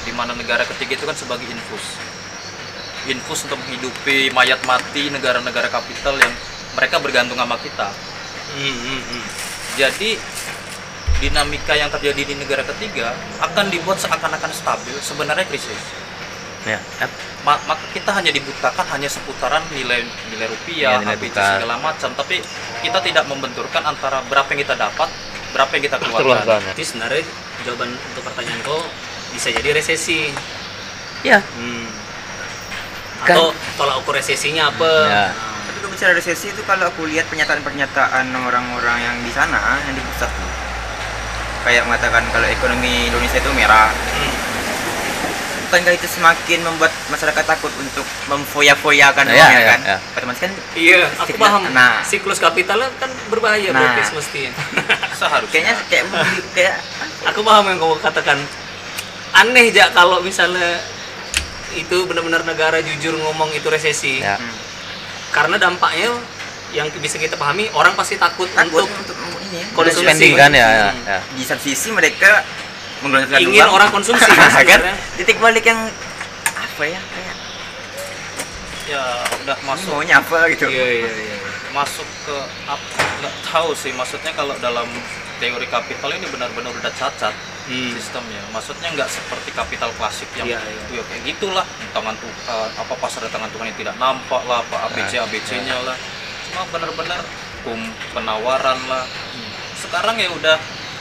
S4: di mana negara ketiga itu kan sebagai infus infus untuk menghidupi mayat mati negara-negara kapital yang mereka bergantung sama kita
S3: Hmm, hmm, hmm.
S4: jadi dinamika yang terjadi di negara ketiga akan dibuat seakan-akan stabil sebenarnya krisis
S1: Ya.
S4: Ma- maka kita hanya dibutakan hanya seputaran nilai nilai rupiah,
S1: Iya, nilai
S4: HPC
S1: tukar.
S4: segala macam, tapi kita tidak membenturkan antara berapa yang kita dapat, berapa yang kita
S1: Keluarkan.
S4: keluarkan.
S3: berarti sebenarnya jawaban untuk pertanyaan kau bisa jadi resesi
S1: Ya.
S3: hmm.
S1: Kan-
S3: atau tolak ukur resesinya apa
S1: Ya.
S5: Tapi kalau bicara resesi itu kalau aku lihat pernyataan-pernyataan orang-orang yang di sana, yang di pusat tuh, kayak mengatakan kalau ekonomi Indonesia itu merah.
S3: Hmm.
S5: Bukankah itu semakin membuat masyarakat takut untuk
S3: ya,
S5: memfoya-foyakan
S1: Nah,
S5: uangnya
S1: iya, iya,
S5: kan?
S1: iya.
S5: Otomatis kan
S3: iya aku
S5: Siklus-
S3: paham
S5: nah.
S3: siklus kapitalnya kan berbahaya
S5: Nah.
S3: berarti mestinya
S4: Seharusnya.
S5: kayaknya kayak
S3: Nah.
S5: kayak
S3: aku paham yang kamu katakan aneh ja kalau misalnya itu benar-benar negara jujur ngomong itu resesi
S1: Ya.
S5: hmm,
S3: karena dampaknya yang bisa kita pahami orang pasti takut,
S5: takut
S3: untuk
S5: untuk ini
S3: Konsumsi.
S1: Spending kan ya, ya,
S3: Hmm.
S1: ya.
S5: Di satu sisi mereka menggunakan
S3: ingin orang konsumsi
S1: Ya
S3: kan
S5: kan
S3: sebenarnya.
S5: titik balik yang apa ya kayak
S4: Ya udah
S5: ini
S4: masuk
S5: maunya apa gitu
S3: iya iya iya
S4: masuk ke ap- nggak tahu sih maksudnya kalau dalam teori kapital ini benar-benar udah cacat
S3: Hmm.
S4: sistemnya maksudnya nggak seperti kapital klasik
S3: Iya,
S4: yang itu ya kayak gitulah tangan Tuhan apa pasar tangan Tuhan yang tidak nampak lah apa ABC
S3: Iya,
S4: ABC nya lah cuma benar-benar hukum penawaran lah
S3: Hmm.
S4: sekarang ya udah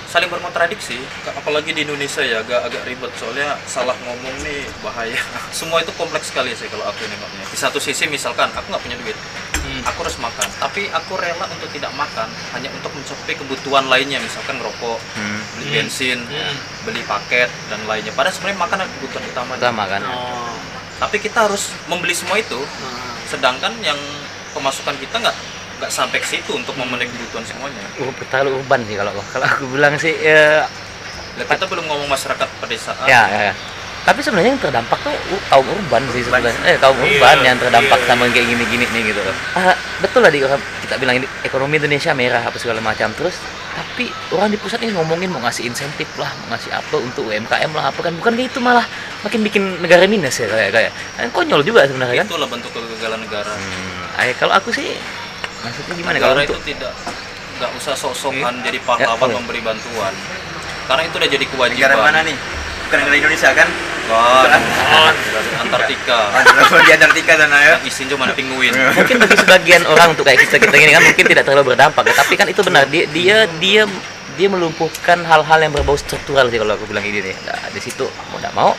S4: saling berkontradiksi apalagi di Indonesia ya agak agak ribet soalnya salah ngomong nih bahaya semua itu kompleks sekali sih kalau aku nengoknya di satu sisi misalkan aku nggak punya duit
S3: Hmm.
S4: aku harus makan tapi aku rela untuk tidak makan hanya untuk mencukupi kebutuhan lainnya misalkan ngerokok
S5: Hmm.
S4: beli
S3: Hmm.
S4: bensin ya,
S3: Hmm.
S4: beli paket dan lainnya padahal sebenarnya makan adalah kebutuhan utama
S1: Utama kan.
S3: oh
S4: tapi kita harus membeli semua itu
S3: nah.
S4: sedangkan yang pemasukan kita nggak nggak sampai ke situ untuk memenuhi kebutuhan semuanya
S1: Ur- terlalu Uh, urban sih kalau kalau aku bilang sih ya,
S4: Lah, kita belum ngomong masyarakat pedesaan
S1: ya, ya, ya. tapi sebenarnya yang terdampak tuh u- kaum urban sih
S5: Urban
S1: sebenarnya eh kaum urban
S3: Iya,
S1: yang terdampak
S3: iya.
S1: sama yang kayak gini-gini nih gitu Ah, betul lah di orang kita bilang ini ekonomi Indonesia merah apa segala macam terus tapi orang di pusat ini ngomongin mau ngasih insentif lah mau ngasih apa untuk UMKM lah apa kan bukan kayak itu malah makin bikin negara minus ya kayak kayak kan konyol juga sebenarnya kan
S4: itulah bentuk kegagalan negara
S1: hmm, eh, kalau aku sih maksudnya gimana kalau
S4: negara itu
S1: untuk
S4: tidak nggak usah sok-sokan jadi pahlawan
S1: boleh.
S4: memberi bantuan karena itu udah jadi kewajiban
S3: gitu,
S5: Negara mana nih? Bukan negara Indonesia kan?
S4: Bukan. Antartika
S5: Oh, di Antartika sana ya.
S4: yang isin cuma pinguin
S1: mungkin bagi sebagian orang untuk kayak kita kita gini kan mungkin tidak terlalu berdampak ya tapi kan itu benar dia dia dia dia melumpuhkan hal-hal yang berbau struktural sih kalau aku bilang ini nih nah, di situ mau tidak mau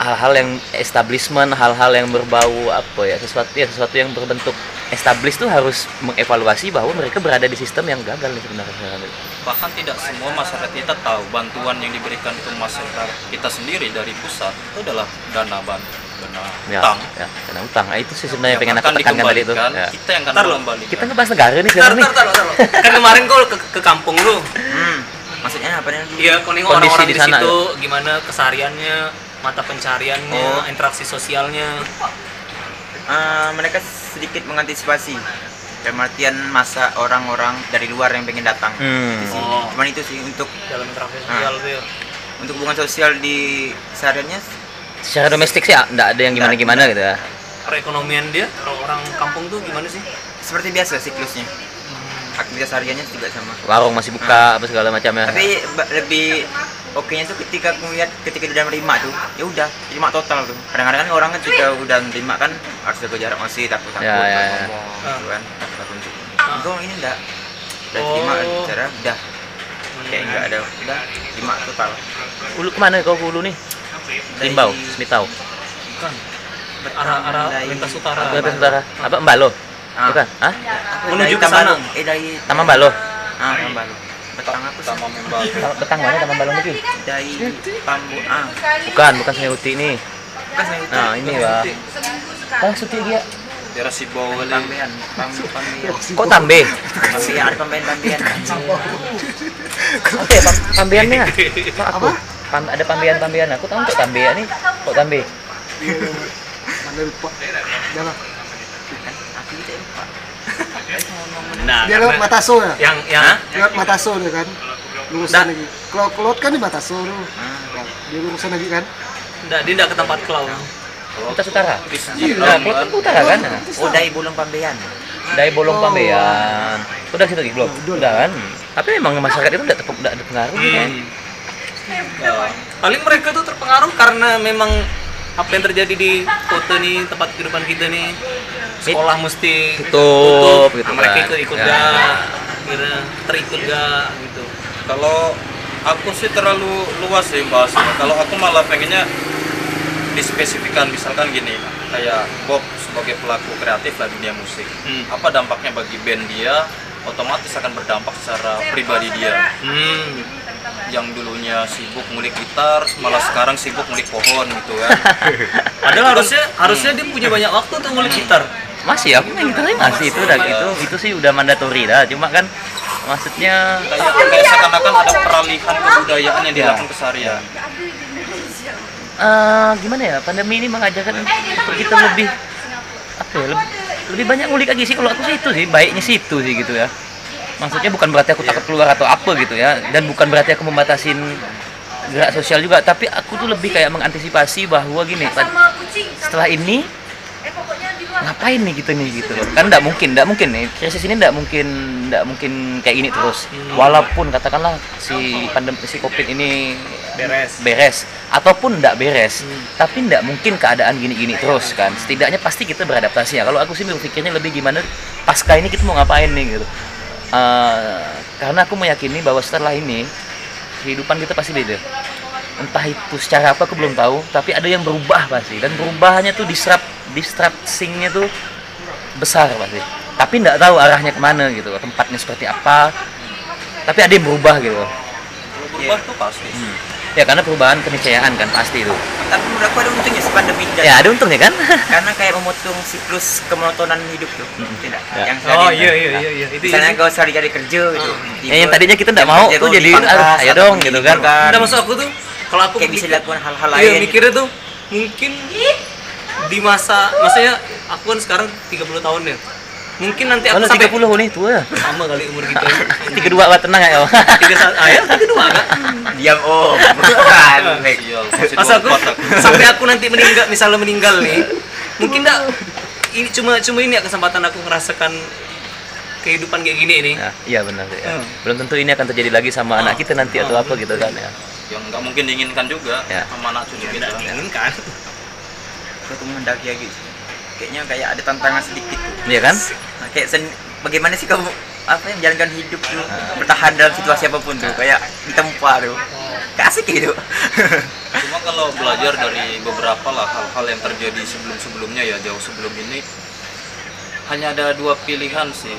S1: hal-hal yang establishment hal-hal yang berbau apa ya sesuatu ya sesuatu yang berbentuk establish tuh harus mengevaluasi bahwa mereka berada di sistem yang gagal nih sebenarnya
S4: bahkan tidak semua masyarakat kita tahu bantuan yang diberikan ke masyarakat kita sendiri dari pusat itu adalah dana bantuan dana
S1: ya,
S4: utang
S1: ya karena utang Nah, itu sih sebenarnya pengen aku
S4: akan
S1: tekankan tadi itu
S4: dikembalikan,
S1: ya.
S4: kita yang akan
S3: Ntar lu.
S4: mengembalikan
S1: kita ngebahas negara nih
S3: Tar,
S1: sekarang nih
S3: tar, tar, tar. Kan kemarin kau ke, ke kampung lu.
S5: Hmm. Maksudnya apa nih?
S3: Iya, kau nengok
S1: Kondisi
S3: orang-orang
S1: di
S3: di
S1: sana, ya?
S3: situ gimana kesehariannya, mata pencariannya,
S5: Oh.
S3: interaksi sosialnya.
S5: Eh, mereka sedikit mengantisipasi dalam artian masa orang-orang dari luar yang pengen datang.
S1: Hmm.
S5: Di sini.
S3: Oh.
S5: Cuman itu sih untuk
S3: dalam interaksi sosial
S1: Ah.
S3: tuh ya.
S5: untuk hubungan sosial di sehariannya
S1: secara domestik sih ya, nggak ada yang
S5: Nggak,
S1: gimana-gimana gitu ya
S3: perekonomian dia kalau orang kampung tuh gimana sih
S5: seperti biasa siklusnya. Aktivitas hariannya juga sama.
S1: warung masih buka apa segala macam ya
S5: Ah. Tapi ba- lebih oke nya tuh ketika aku lihat ketika dia menerima tuh, ya udah terima total tuh. Kadang-kadang kan orang ketika udah menerima kan harus jaga jarak masih takut takut
S1: Ya, ya, ya.
S5: ngomong gitu kan, takut takut untuk.
S3: Ah.
S5: Enggak, ini enggak. Udah terima
S3: Oh.
S5: cara udah kayak enggak ada udah terima total.
S1: Ulu kemana kau ke Ulu nih? Limbau, Semitau,
S3: bukan arah arah
S5: Dari-
S3: lintas utara Oh,
S5: Ah,
S1: Kalimantan
S5: Bandung.
S1: Utara. Apa Mbak Lo?
S5: Ah.
S1: Bukan? Hah?
S3: Menuju
S5: Dari
S3: ke sana. iya.
S5: Tambalu. Eh dari
S1: Taman Mbak Lo?
S5: ah Tambalu. Betang aku sama
S4: sama membang
S1: Betang mana Taman Mbak Lo lagi?
S5: dari Tambu ah
S1: Bukan, bukan Sungai Uti nih.
S5: bukan saya itu.
S1: Nah, ini lah. Kan Suti dia.
S4: daerah Sibau kali
S5: Tambean, Tambu Tambean.
S3: Oh,
S1: Kok Tambe?
S5: Tambean ada Tambean Tambean.
S1: Apa ya pam pambeannya? Mak aku. Pam ada pambean-pambean. Aku tahu kok Tambe ya nih. Kok Tambe?
S2: Mana lupa. Jalan.
S5: Aku juga lupa.
S3: nah
S2: Dia lewat
S3: karena
S2: Mataso ya?
S3: yang yang Nah.
S2: Lewat Mataso dia kan? Lurusan lagi. Kalau keluar kan di Mataso tuh.
S5: Ah.
S2: Nah, Dia lurusan lagi kan?
S3: enggak dia enggak ke tempat klau
S1: Kita Utara.
S4: di
S1: Nah,
S4: Sejirang
S1: kota
S4: kan
S3: Iya
S1: Utara kan?
S5: Oh dari Bulung Pambean.
S1: Dari Bolong Pambean.
S5: Oh.
S1: Udah situ lagi belum?
S2: Udah.
S1: Udah kan? Tapi memang masyarakat itu tidak tidak ada pengaruh
S5: Hmm.
S1: kan?
S3: Ya. paling mereka tuh terpengaruh karena memang apa yang terjadi di kota nih tempat kehidupan kita nih sekolah mesti
S1: Tutup, gitu
S3: Nah, mereka
S1: kan.
S3: ikut ikut
S1: Ya.
S3: gak kira terikut gak gitu
S4: kalau aku sih terlalu luas sih bahasnya kalau aku malah pengennya dispesifikan misalkan gini kayak Bob sebagai pelaku kreatif lah dunia musik
S3: Hmm.
S4: apa dampaknya bagi band dia otomatis akan berdampak secara pribadi dia
S3: hmm
S4: yang dulunya sibuk ngulik gitar malah sekarang sibuk ngulik pohon gitu kan
S3: padahal harusnya harusnya dia punya banyak waktu untuk ngulik gitar
S1: masih aku main gitarnya masih itu udah itu itu sih udah mandatory dah cuma kan maksudnya
S4: kayak kayak seakan-akan ada peralihan kebudayaan
S3: Iya.
S4: yang dilakukan keseharian
S1: eh, gimana ya pandemi ini mengajarkan kita lebih apa ya, lebih, lebih banyak ngulik lagi sih kalau aku sih itu sih baiknya sih itu sih gitu ya maksudnya bukan berarti aku takut keluar atau apa gitu ya dan bukan berarti aku membatasin gerak sosial juga tapi aku tuh lebih kayak mengantisipasi bahwa gini Pak,
S6: sama kucing sama-
S1: setelah ini
S6: eh pokoknya di luar
S1: ngapain nih gitu nih gitu loh. kan tidak mungkin tidak mungkin nih krisis ini tidak mungkin tidak mungkin kayak ini terus walaupun katakanlah si pandemi si covid ini
S3: Beres.
S1: beres ataupun tidak beres tapi tidak mungkin keadaan gini-gini terus kan setidaknya pasti kita beradaptasi ya kalau aku sih berpikirnya lebih gimana pasca ini kita mau ngapain nih gitu Eh, karena aku meyakini bahwa setelah ini kehidupan kita pasti beda entah itu secara apa aku belum tahu tapi ada yang berubah pasti dan perubahannya tuh disrupt disrupting-nya tuh besar pasti tapi nggak tahu arahnya kemana gitu tempatnya seperti apa tapi ada yang berubah gitu
S4: kalau berubah
S5: Iya.
S4: tuh pasti
S1: ya karena perubahan keniscayaan kan pasti itu
S5: Hmm. Tapi menurut aku ada untungnya sih pandemi ini.
S1: ya ada untungnya kan
S5: Karena kayak memutung siklus kemonotonan hidup tuh. Tidak.
S1: Ya.
S5: Yang seharian.
S3: iya iya iya itu
S5: Misalnya kau sehari
S3: Ah.
S5: cari kerja gitu.
S1: Eh,
S3: Iya.
S1: Ya, yang tadinya kita nggak mau tuh jadi, aduh, ayo dong, gitu kan.
S3: Nah, maksud aku tuh kalau aku
S5: kayak bisa
S3: Ya, mikir-
S5: dilakukan hal-hal lain.
S3: iya mikirnya tuh mungkin di masa maksudnya aku kan sekarang 30 tahun ya mungkin nanti aku
S1: Kalau
S3: sampai Iya.
S1: 30 nih eh. tua.
S3: sama kali umur kita
S1: 32 lah tenang ya. Om.
S3: tiga sa- ah ya tiga dua kan
S5: Diam om. Bukan. Nek.
S4: Sial, masih
S3: masa aku
S4: 24 aku.
S3: sampai aku nanti meninggal misalnya meninggal nih mungkin enggak ini cuma cuma ini ya kesempatan aku merasakan kehidupan kayak gini nih
S1: Nah, iya benar ya.
S3: Hmm.
S1: Belum tentu ini akan terjadi lagi sama anak kita nanti atau apa gitu kan ya.
S4: yang nggak mungkin diinginkan juga
S3: Iya.
S1: Ya.
S4: sama anak cucu gitu. kita
S3: kan
S5: Aku tuh menghendaki lagi. Kayaknya kayak ada tantangan sedikit. tuh.
S1: Iya kan?
S5: Nah, kayak sen bagaimana sih kamu apa yang menjalankan hidup tuh
S3: Ah.
S5: bertahan dalam situasi apapun tuh kayak ditempa tuh kasih gitu
S4: cuma kalau belajar dari beberapa lah hal-hal yang terjadi sebelum-sebelumnya ya jauh sebelum ini hanya ada dua pilihan sih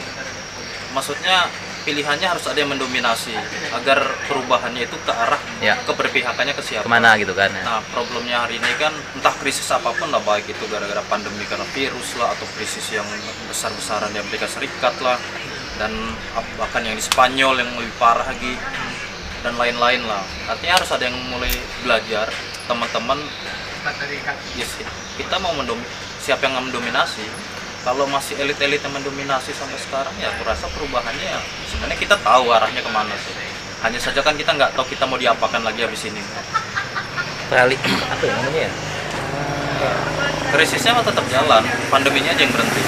S4: maksudnya pilihannya harus ada yang mendominasi agar perubahannya itu ke arah
S1: Ya.
S4: keberpihakannya ke siapa
S1: Kemana gitu kan ya.
S4: Nah, problemnya hari ini kan entah krisis apapun lah baik itu gara-gara pandemi karena virus lah atau krisis yang besar-besaran di Amerika Serikat lah dan ap- bahkan yang di Spanyol yang lebih parah lagi dan lain-lain lah. Artinya harus ada yang mulai belajar teman-teman yes, kita mau mendom siapa yang mendominasi kalau masih elit-elit yang mendominasi sampai sekarang ya aku rasa perubahannya ya sebenarnya kita tahu arahnya kemana sih hanya saja kan kita nggak tahu kita mau diapakan lagi habis ini
S1: Peralih apa ya namanya ya?
S4: krisisnya mah tetap jalan pandeminya aja yang berhenti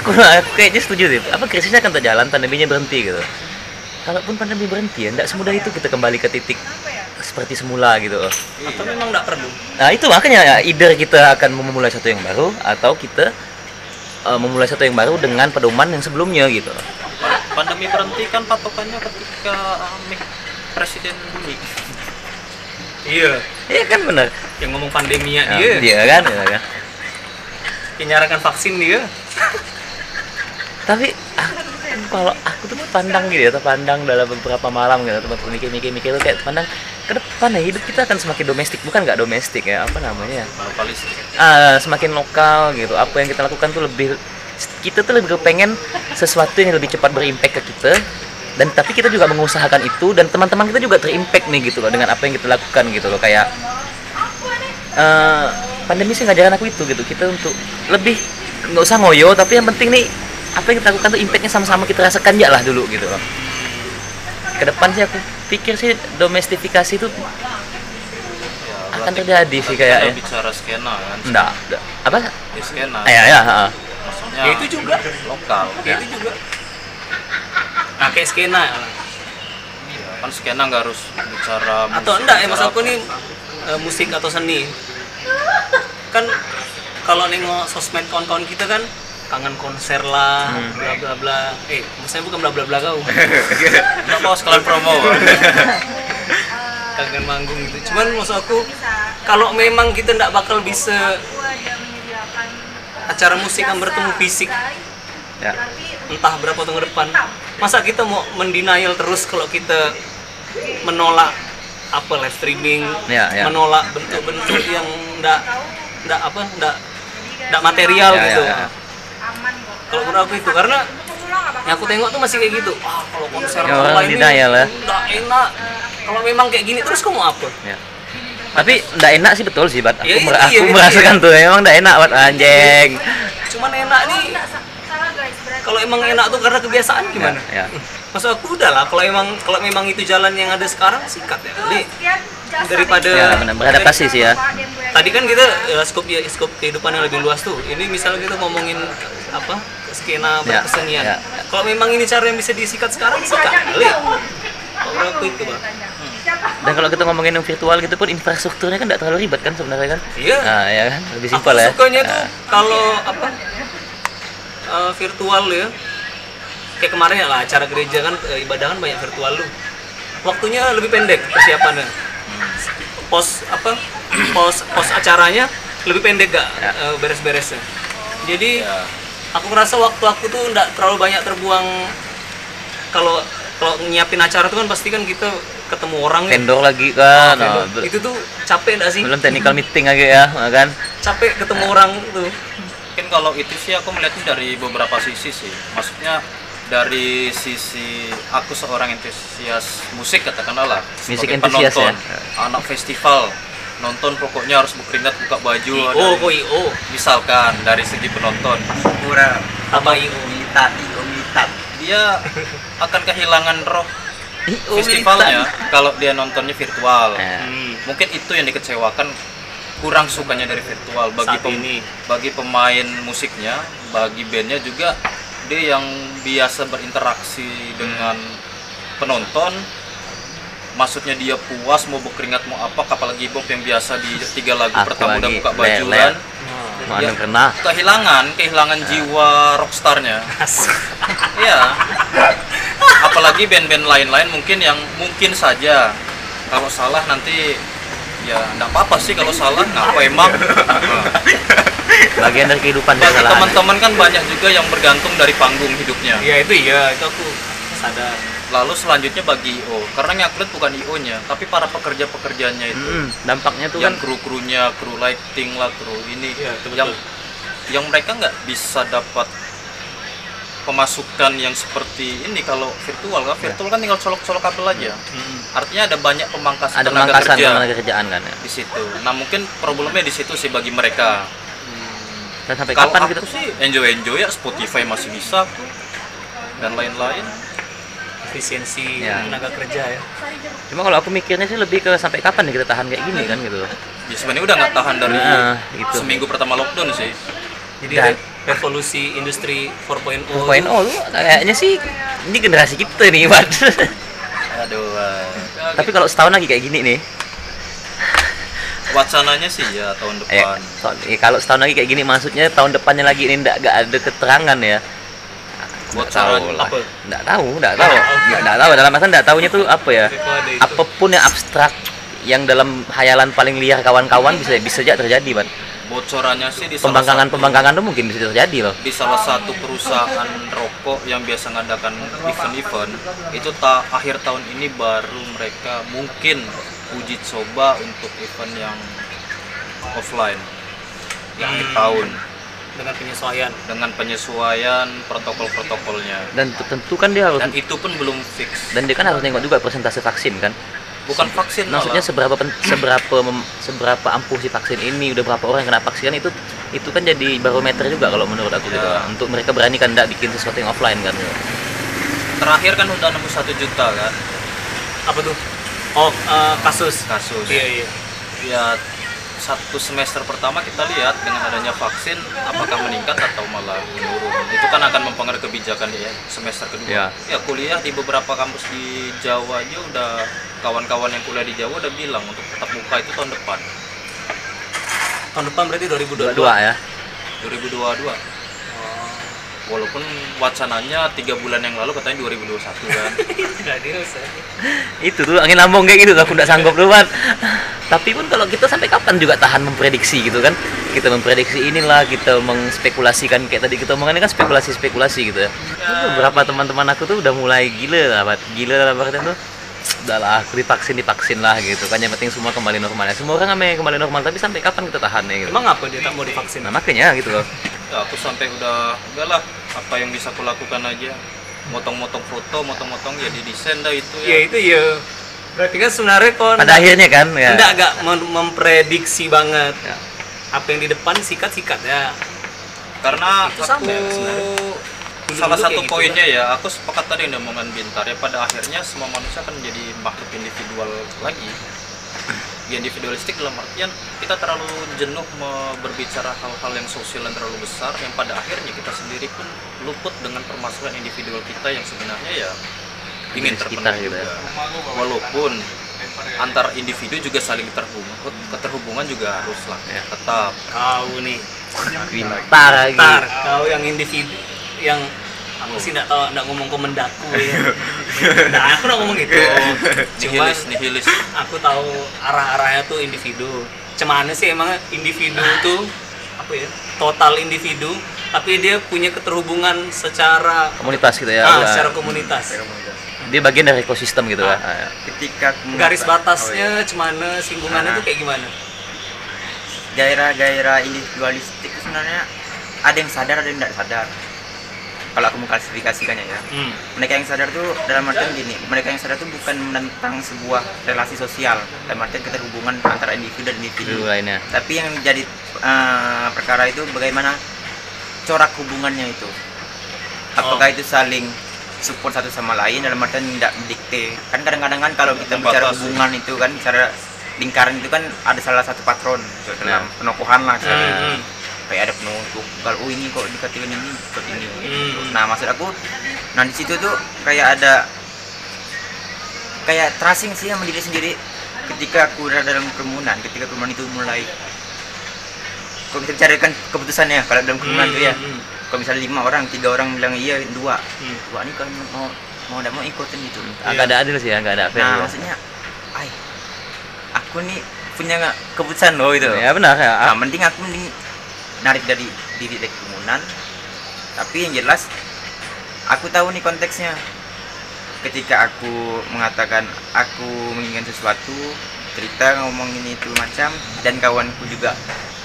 S1: Aku, aku kayaknya setuju sih. Apa krisisnya akan terjalan, pandeminya berhenti gitu. Kalaupun pandemi berhenti ya, tidak semudah itu kita kembali ke titik seperti semula gitu.
S3: atau memang enggak perlu
S1: Nah itu makanya ya, either kita akan memulai satu yang baru atau kita eh, memulai satu yang baru dengan pedoman yang sebelumnya gitu.
S4: Pa- pandemi berhenti kan patokannya ketika uh, Mik- presiden bunyi
S3: iya
S1: Iya kan benar.
S3: yang ngomong pandemi ya
S1: Nah,
S3: dia
S1: Iya kan, iya kan.
S3: yang nyarankan vaksin dia
S1: Tapi aku- kalau aku tuh pandang gitu ya, terpandang dalam beberapa malam gitu, tempat mikir-mikir-mikir tuh kayak pandang ke depan ya hidup kita akan semakin domestik, bukan nggak domestik ya, apa namanya? ya?
S4: Barbalis
S1: Ah, semakin lokal gitu. Apa yang kita lakukan tuh lebih kita tuh lebih pengen sesuatu yang lebih cepat berimpact ke kita dan tapi kita juga mengusahakan itu dan teman-teman kita juga terimpact nih gitu loh dengan apa yang kita lakukan gitu loh kayak eh, pandemi sih ngajarin aku itu gitu kita untuk lebih nggak usah ngoyo tapi yang penting nih apa yang kita lakukan tuh impactnya sama-sama kita rasakan ya lah dulu gitu loh ke depan sih aku pikir sih domestifikasi itu
S4: ya
S1: akan terjadi sih
S3: ya.
S1: kayaknya
S4: kita bicara skena kan
S1: enggak apa
S4: Ya, skena
S1: ya ya ha.
S4: maksudnya
S3: Ya, Eh, itu juga. Iya.
S4: lokal ya.
S3: itu juga nah, kayak skena lah.
S4: kan skena nggak harus bicara
S3: atau
S4: musik,
S3: enggak ya mas
S4: bicara
S3: aku
S4: apa.
S3: nih eh, musik atau seni kan kalau nengok sosmed kawan-kawan kita kan kangen konser lah bla bla bla eh maksudnya bukan bla bla bla kau
S4: nggak mau sekalian promo
S3: kangen manggung gitu cuman maksud aku kalau memang kita nggak bakal bisa
S6: eh,
S3: acara musik yang bertemu fisik
S1: ya
S3: entah berapa tahun ke depan masa kita mau mendenial terus kalau kita menolak apa live streaming
S1: Ya, ya.
S3: menolak bentuk-bentuk yang ndak ndak apa ndak ndak material
S1: Ya, ya,
S3: gitu
S1: ya.
S3: kalau menurut aku itu karena yang aku tengok tuh masih kayak gitu ah kalau konser
S1: Ya, orang
S3: online ini
S1: denial ya.
S3: ndak enak kalau memang kayak gini terus kamu apa
S1: Ya. Tapi ndak enak sih betul sih, Bat. Aku,
S3: Ya, itu
S1: mer-
S3: iya,
S1: aku
S3: itu
S1: merasakan tuh emang ndak enak, Bat. Anjing. Ya,
S3: cuman enak nih
S6: salah guys berarti
S3: Ya. kalau emang enak tuh karena kebiasaan gimana
S1: Ya, ya.
S3: maksud aku udah lah kalau emang kalau memang itu jalan yang ada sekarang sikat ya Jadi,
S6: sekian jasa
S3: daripada
S1: Ya, benar beradaptasi sih ya.
S6: Pak dan Bu Edi.
S3: tadi kan kita ya, skop ya, skop kehidupan yang lebih luas tuh ini misalnya kita ngomongin apa skena
S1: Ya,
S3: berkesenian
S1: ya.
S3: kalau memang ini cara yang bisa disikat sekarang sikat kali kalau aku itu Pak.
S1: Dan kalau kita ngomongin yang virtual gitu pun infrastrukturnya kan nggak terlalu ribet kan sebenarnya kan?
S3: Iya.
S1: Nah, ya kan? Lebih
S3: aku
S1: simpel ya.
S3: sukanya tuh
S1: Nah,
S3: kalau apa eh, virtual ya kayak kemarin ya lah acara gereja kan eh, ibadah kan banyak virtual lu waktunya lebih pendek persiapannya pos apa pos pos acaranya lebih pendek gak
S1: Ya.
S3: eh, beres-beresnya jadi
S4: Ya.
S3: aku ngerasa waktu aku tuh nggak terlalu banyak terbuang kalau kalau nyiapin acara tuh kan pasti kan kita ketemu orang ya.
S1: Vendor lagi kan.
S3: Vendor.
S1: Nah, be-
S3: itu tuh capek nggak sih
S1: belum technical meeting lagi ya, nah, kan?
S3: capek ketemu orang tuh
S1: Nah.
S4: mungkin kalau itu sih aku melihatnya dari beberapa sisi sih maksudnya dari sisi aku seorang entusias musik katakanlah lah
S1: Musik
S4: sebagai
S1: entusias,
S4: penonton,
S1: ya?
S4: anak festival nonton pokoknya harus berkeringat buka baju
S3: oh
S4: dari-
S3: kok io
S4: misalkan dari segi penonton
S5: kurang
S3: apa io
S5: militan io militan
S4: dia akan kehilangan roh
S1: Ih, oh,
S4: festivalnya
S1: militan.
S4: kalau dia nontonnya virtual
S1: Eh.
S3: hmm.
S4: mungkin itu yang dikecewakan kurang sukanya dari virtual bagi
S3: Saat
S4: pem-
S3: ini.
S4: bagi pemain musiknya bagi bandnya juga dia yang biasa berinteraksi dengan penonton maksudnya dia puas mau berkeringat mau apa apalagi Bob yang biasa di tiga lagu
S1: Aku
S4: pertama udah
S1: lagi
S4: buka
S1: ler-
S4: baju
S1: ler.
S4: kan
S1: Mau
S4: Ya.
S1: anu kena.
S4: kehilangan kehilangan jiwa rockstarnya Iya. Apalagi band-band lain-lain mungkin yang mungkin saja kalau salah nanti ya enggak apa-apa sih kalau salah ngapa emang.
S1: Bagian dari kehidupan
S4: Bagi
S1: kesalahan.
S4: teman-teman kan banyak juga yang bergantung dari panggung hidupnya.
S3: ya itu iya itu aku sadar
S4: Lalu selanjutnya bagi IO karena yang upload bukan IO-nya tapi para pekerja-pekerjanya itu
S1: Mm, dampaknya tuh
S4: yang
S1: kan
S4: kru-krunya, kru lighting lah, kru ini
S3: Iya, itu
S4: yang
S3: betul.
S4: yang mereka nggak bisa dapat pemasukan yang seperti ini kalau virtual kan
S1: Iya.
S4: virtual kan tinggal colok-colok kabel aja Hmm. artinya ada banyak pemangkasan
S1: ada
S4: tenaga
S1: pemangkasan
S4: kerja
S1: tenaga kerjaan kan ya.
S4: di situ nah mungkin problemnya di situ sih bagi mereka
S1: Dan sampai
S4: kalau
S1: kapan gitu?
S4: aku
S1: kita
S4: sih enjoy enjoy ya Spotify masih bisa aku. dan lain-lain
S3: efisiensi
S1: Ya.
S3: tenaga kerja ya
S1: Cuma kalau aku mikirnya sih lebih ke sampai kapan nih kita tahan kayak gini kan gitu.
S4: ya sebenarnya udah nggak tahan dari
S1: Nah, gitu.
S4: seminggu pertama lockdown sih
S3: jadi
S1: Dan-
S3: re- revolusi industri 4.0
S1: Poin oh lu kayaknya sih ini generasi kita nih, Mat.
S4: aduh eh.
S1: Tapi kalau setahun lagi kayak gini nih,
S4: wacananya sih ya tahun
S1: eh,
S4: depan
S1: so- eh, kalau setahun lagi kayak gini maksudnya tahun depannya lagi ini enggak enggak ada keterangan ya.
S4: buat
S1: Nggak tahu
S4: saran
S1: lah.
S3: apa?
S1: Enggak tahu, enggak tahu. Enggak enggak tahu dalam masa enggak tahunya tuh apa ya?
S3: Itu ada itu.
S1: Apapun yang abstrak yang dalam hayalan paling liar kawan-kawan bisa bisa saja terjadi, Mat.
S4: bocorannya sih di salah
S1: Pembangkangan-pembangkangan tuh mungkin bisa terjadi loh.
S4: di salah satu perusahaan rokok yang biasa mengadakan event-event itu ta akhir tahun ini baru mereka mungkin uji coba untuk event yang offline di akhir
S1: Hmm.
S4: tahun
S3: dengan penyesuaian
S4: dengan penyesuaian protokol-protokolnya
S1: Dan tentu kan dia harus
S4: dan itu pun belum fix
S1: dan dia kan harus nengok juga persentase vaksin kan
S4: bukan vaksin
S1: maksudnya
S4: malah.
S1: seberapa pen- seberapa mem- seberapa ampuh si vaksin ini udah berapa orang yang kena vaksin itu itu kan jadi barometer juga kalau menurut aku gitu
S4: Ya.
S1: untuk mereka berani kan enggak bikin sesuatu yang offline kan
S4: terakhir kan udah nembus 1 juta kan
S3: apa tuh oh eh, kasus
S4: kasus
S3: iya iya
S4: ya satu semester pertama kita lihat dengan adanya vaksin apakah meningkat atau malah menurun itu kan akan mempengaruhi kebijakan ya semester kedua
S1: Ya.
S4: ya kuliah di beberapa kampus di Jawa aja udah kawan-kawan yang kuliah di Jawa udah bilang untuk tetap muka itu tahun depan
S3: tahun depan berarti 2022
S1: dua ya
S4: 2022 walaupun wacananya tiga bulan yang lalu katanya 2021 kan
S3: tidak diusah
S1: itu tuh angin lambung kayak gitu tuh, aku nggak sanggup tuh Mat. tapi pun kalau kita sampai kapan juga tahan memprediksi gitu kan kita memprediksi inilah kita mengspekulasikan kayak tadi kita omongannya kan spekulasi spekulasi gitu ya Tuh, beberapa teman-teman aku tuh udah mulai gila lah Mat. gila lah bahkan tuh udah lah aku divaksin divaksin lah gitu kan yang penting semua kembali normal ya semua orang ambil kembali normal tapi sampai kapan kita tahan ya gitu
S3: emang apa dia tak mau divaksin
S1: nah makanya gitu loh
S4: ya, aku sampai udah udahlah apa yang bisa aku lakukan aja motong-motong foto motong-motong ya didesain dah itu
S3: ya itu ya berarti kan sebenarnya kon
S1: Iya, pada akhirnya kan ya
S3: enggak enggak mem- memprediksi banget
S1: Ya.
S3: apa yang di depan sikat sikat ya
S4: karena
S3: Itu
S4: aku
S3: sama ya sebenarnya. Dulu-dulu
S4: salah
S3: kayak
S4: satu
S3: gitu
S4: poinnya ya aku sepakat tadi yang omongan bintar ya pada akhirnya semua manusia akan menjadi makhluk individual lagi Di individualistik dalam artian kita terlalu jenuh me- berbicara hal-hal yang sosial yang terlalu besar yang pada akhirnya kita sendiri pun luput dengan permasalahan individual kita yang sebenarnya ya ingin
S1: Di
S4: terpenuhi
S1: sekitar gitu ya.
S4: juga walaupun antar individu juga saling terhubung keterhubungan juga haruslah
S3: Ya.
S4: tetap
S3: kau nih
S1: bintar lagi
S3: tar kau yang individu yang aku sih enggak tahu enggak ngomong komendaku ya nah aku enggak ngomong gitu cuman
S4: nihilis nihilis
S3: aku tahu arah-arahnya tuh individu cuman sih emang individu tuh apa ya total individu tapi dia punya keterhubungan secara
S1: komunitas gitu ya
S3: ah,
S1: udah.
S3: secara komunitas
S1: dia bagian dari ekosistem gitu lah Ah, ya.
S5: ketika aku
S3: garis
S5: mengapa-
S3: batasnya cemana singgungannya
S5: Ah.
S3: tuh kayak gimana
S5: gairah-gairah individualistik itu sebenarnya ada yang sadar ada yang tidak sadar kalau aku mengklasifikasikannya ya
S3: Hmm.
S5: mereka yang sadar tuh dalam artian gini mereka yang sadar tuh bukan menentang sebuah relasi sosial dalam artian keterhubungan antara individu dan individu
S1: dulu lainnya
S5: tapi yang jadi eh, perkara itu bagaimana corak hubungannya itu apakah itu saling support satu sama lain dalam artian tidak dikte kan kadang-kadang kan kalau kita bicara
S4: Membatasi.
S5: hubungan itu kan bicara lingkaran itu kan ada salah satu patron gitu, dalam penokohan lah gitu.
S1: Nah.
S5: kayak ada penutup kalau oh ini kok dikatakan ini seperti ini gitu.
S3: Hmm.
S5: nah maksud aku nah di situ tuh kayak ada kayak tracing sih sama diri sendiri ketika aku berada dalam kerumunan ketika kerumunan itu mulai kalau kita bicarakan keputusannya kalau dalam kerumunan tuh ya
S3: Hmm.
S5: kalau misalnya lima orang tiga orang bilang iya dua
S3: Hmm. Iya,
S5: dua ini kan mau mau tidak mau ikutin gitu
S1: agak ada adil sih ya nggak ada fair
S5: nah
S1: juga.
S5: maksudnya ay aku nih punya nggak keputusan loh gitu
S3: Iya.
S1: ya benar ya
S5: nah mending aku mending narik dari diri dari kerumunan tapi yang jelas aku tahu nih konteksnya ketika aku mengatakan aku menginginkan sesuatu cerita ngomongin itu macam dan kawanku juga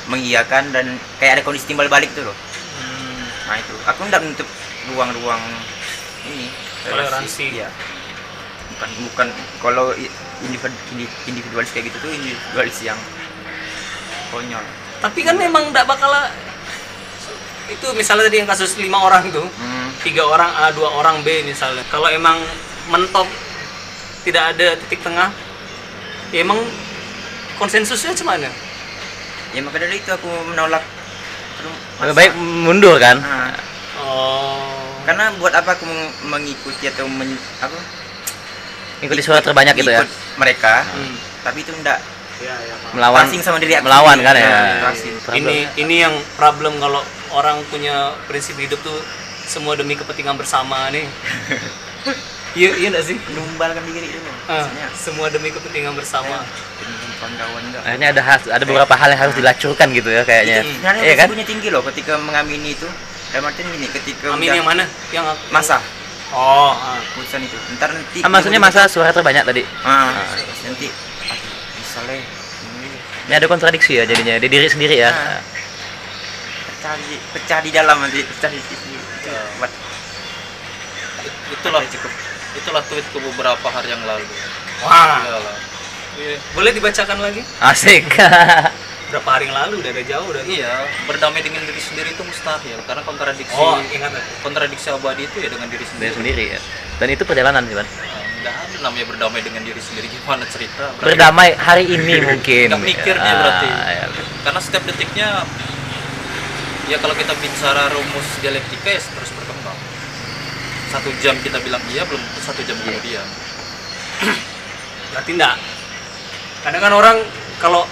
S5: mengiyakan dan kayak ada kondisi timbal balik tuh loh nah itu aku nggak menutup ruang-ruang ini
S3: Toleransi.
S5: ya bukan bukan kalau i- individu- indi- individualis kayak gitu tuh individualis yang konyol
S3: Tapi kan memang tidak bakal itu misalnya tadi yang kasus lima orang tuh
S5: Hmm.
S3: tiga orang A dua orang B misalnya kalau emang mentok tidak ada titik tengah ya emang konsensusnya cuman
S5: ya maka dari itu aku menolak
S1: lebih baik mundur kan
S5: Nah,
S3: oh
S5: karena buat apa aku meng- mengikuti atau men, apa
S1: ikuti suara terbanyak gitu ya
S5: ikut mereka
S3: Hmm.
S5: tapi itu enggak
S3: Ya, ya, Pak.
S1: melawan
S5: Tracing sama diri aku
S1: melawan kan ya,
S5: Nah, tracing.
S1: Problem.
S3: ini ini yang problem kalau orang punya prinsip hidup tuh semua demi kepentingan bersama nih iya iya nggak sih
S5: menumbalkan diri dulu
S3: Ah,
S5: maksudnya
S3: semua demi kepentingan bersama
S5: dengan kawan-kawan enggak
S1: akhirnya ada has- ada beberapa hal yang harus dilacurkan gitu ya kayaknya
S5: Itu sebenarnya
S1: iya kan
S5: resikonya tinggi loh ketika mengamini itu dalam artian gini ketika
S3: amin ya,
S5: udah
S3: yang mana yang aku-
S5: masa
S3: Iya. oh ah.
S5: keputusan itu ntar nanti
S1: Ah, maksudnya masa suara terbanyak tadi
S5: Ah, nanti aduh, misalnya ini
S1: ini ada kontradiksi ya jadinya di diri sendiri ya
S5: Ah. pecah di pecah di dalam nanti pecah di sisi itu buat
S4: itulah cukup itulah tweetku beberapa hari yang lalu
S3: wah
S4: Iyalah. Iya.
S3: boleh dibacakan lagi
S1: asik
S3: berapa hari yang lalu udah ada jauh dari
S4: iya berdamai dengan diri sendiri itu mustahil karena kontradiksi
S3: oh ingat aku.
S4: kontradiksi abadi itu ya dengan diri sendiri
S1: iya. diri sendiri ya dan itu perjalanan sih Ban.
S4: Nah, nggak ada namanya berdamai dengan diri sendiri gimana cerita Berarti-
S1: berdamai hari ini mungkin
S4: Nggak mikir dia
S1: Ah,
S4: berarti.
S1: ya.
S4: karena setiap detiknya ya kalau kita bicara rumus dialektika ya terus berkembang satu jam kita bilang iya belum tentu satu jam kemudian
S3: berarti enggak kadang kan orang kalau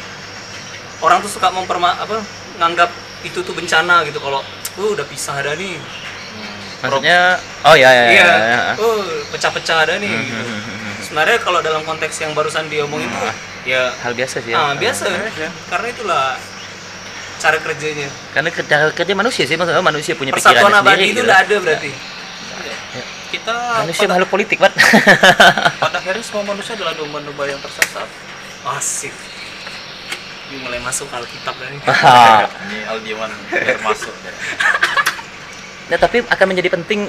S3: orang tuh suka memperma apa nganggap itu tuh bencana gitu kalau "Oh, udah pisah ada nih
S1: maksudnya oh ya ya, ya,
S3: iya
S1: ya.
S3: oh pecah-pecah ada nih
S1: Hmm,
S3: gitu sebenarnya kalau dalam konteks yang barusan diomongin tuh
S1: Hmm.
S3: ya
S1: hal biasa sih ya.
S3: ah, biasa karena itulah cara kerjanya
S1: karena kerja kerja manusia sih maksudnya oh, manusia punya
S3: persatuan
S1: pikiran
S3: abadi
S1: sendiri
S3: itu
S1: gitu.
S3: enggak ada berarti
S4: kita
S1: manusia
S4: pada,
S1: makhluk politik Ban.
S4: pada akhirnya semua manusia adalah domba-domba yang tersesat
S3: asik Ini mulai masuk alkitab nih
S1: Ah.
S4: ini Aldiman ya. biar masuk
S1: Nah, tapi akan menjadi penting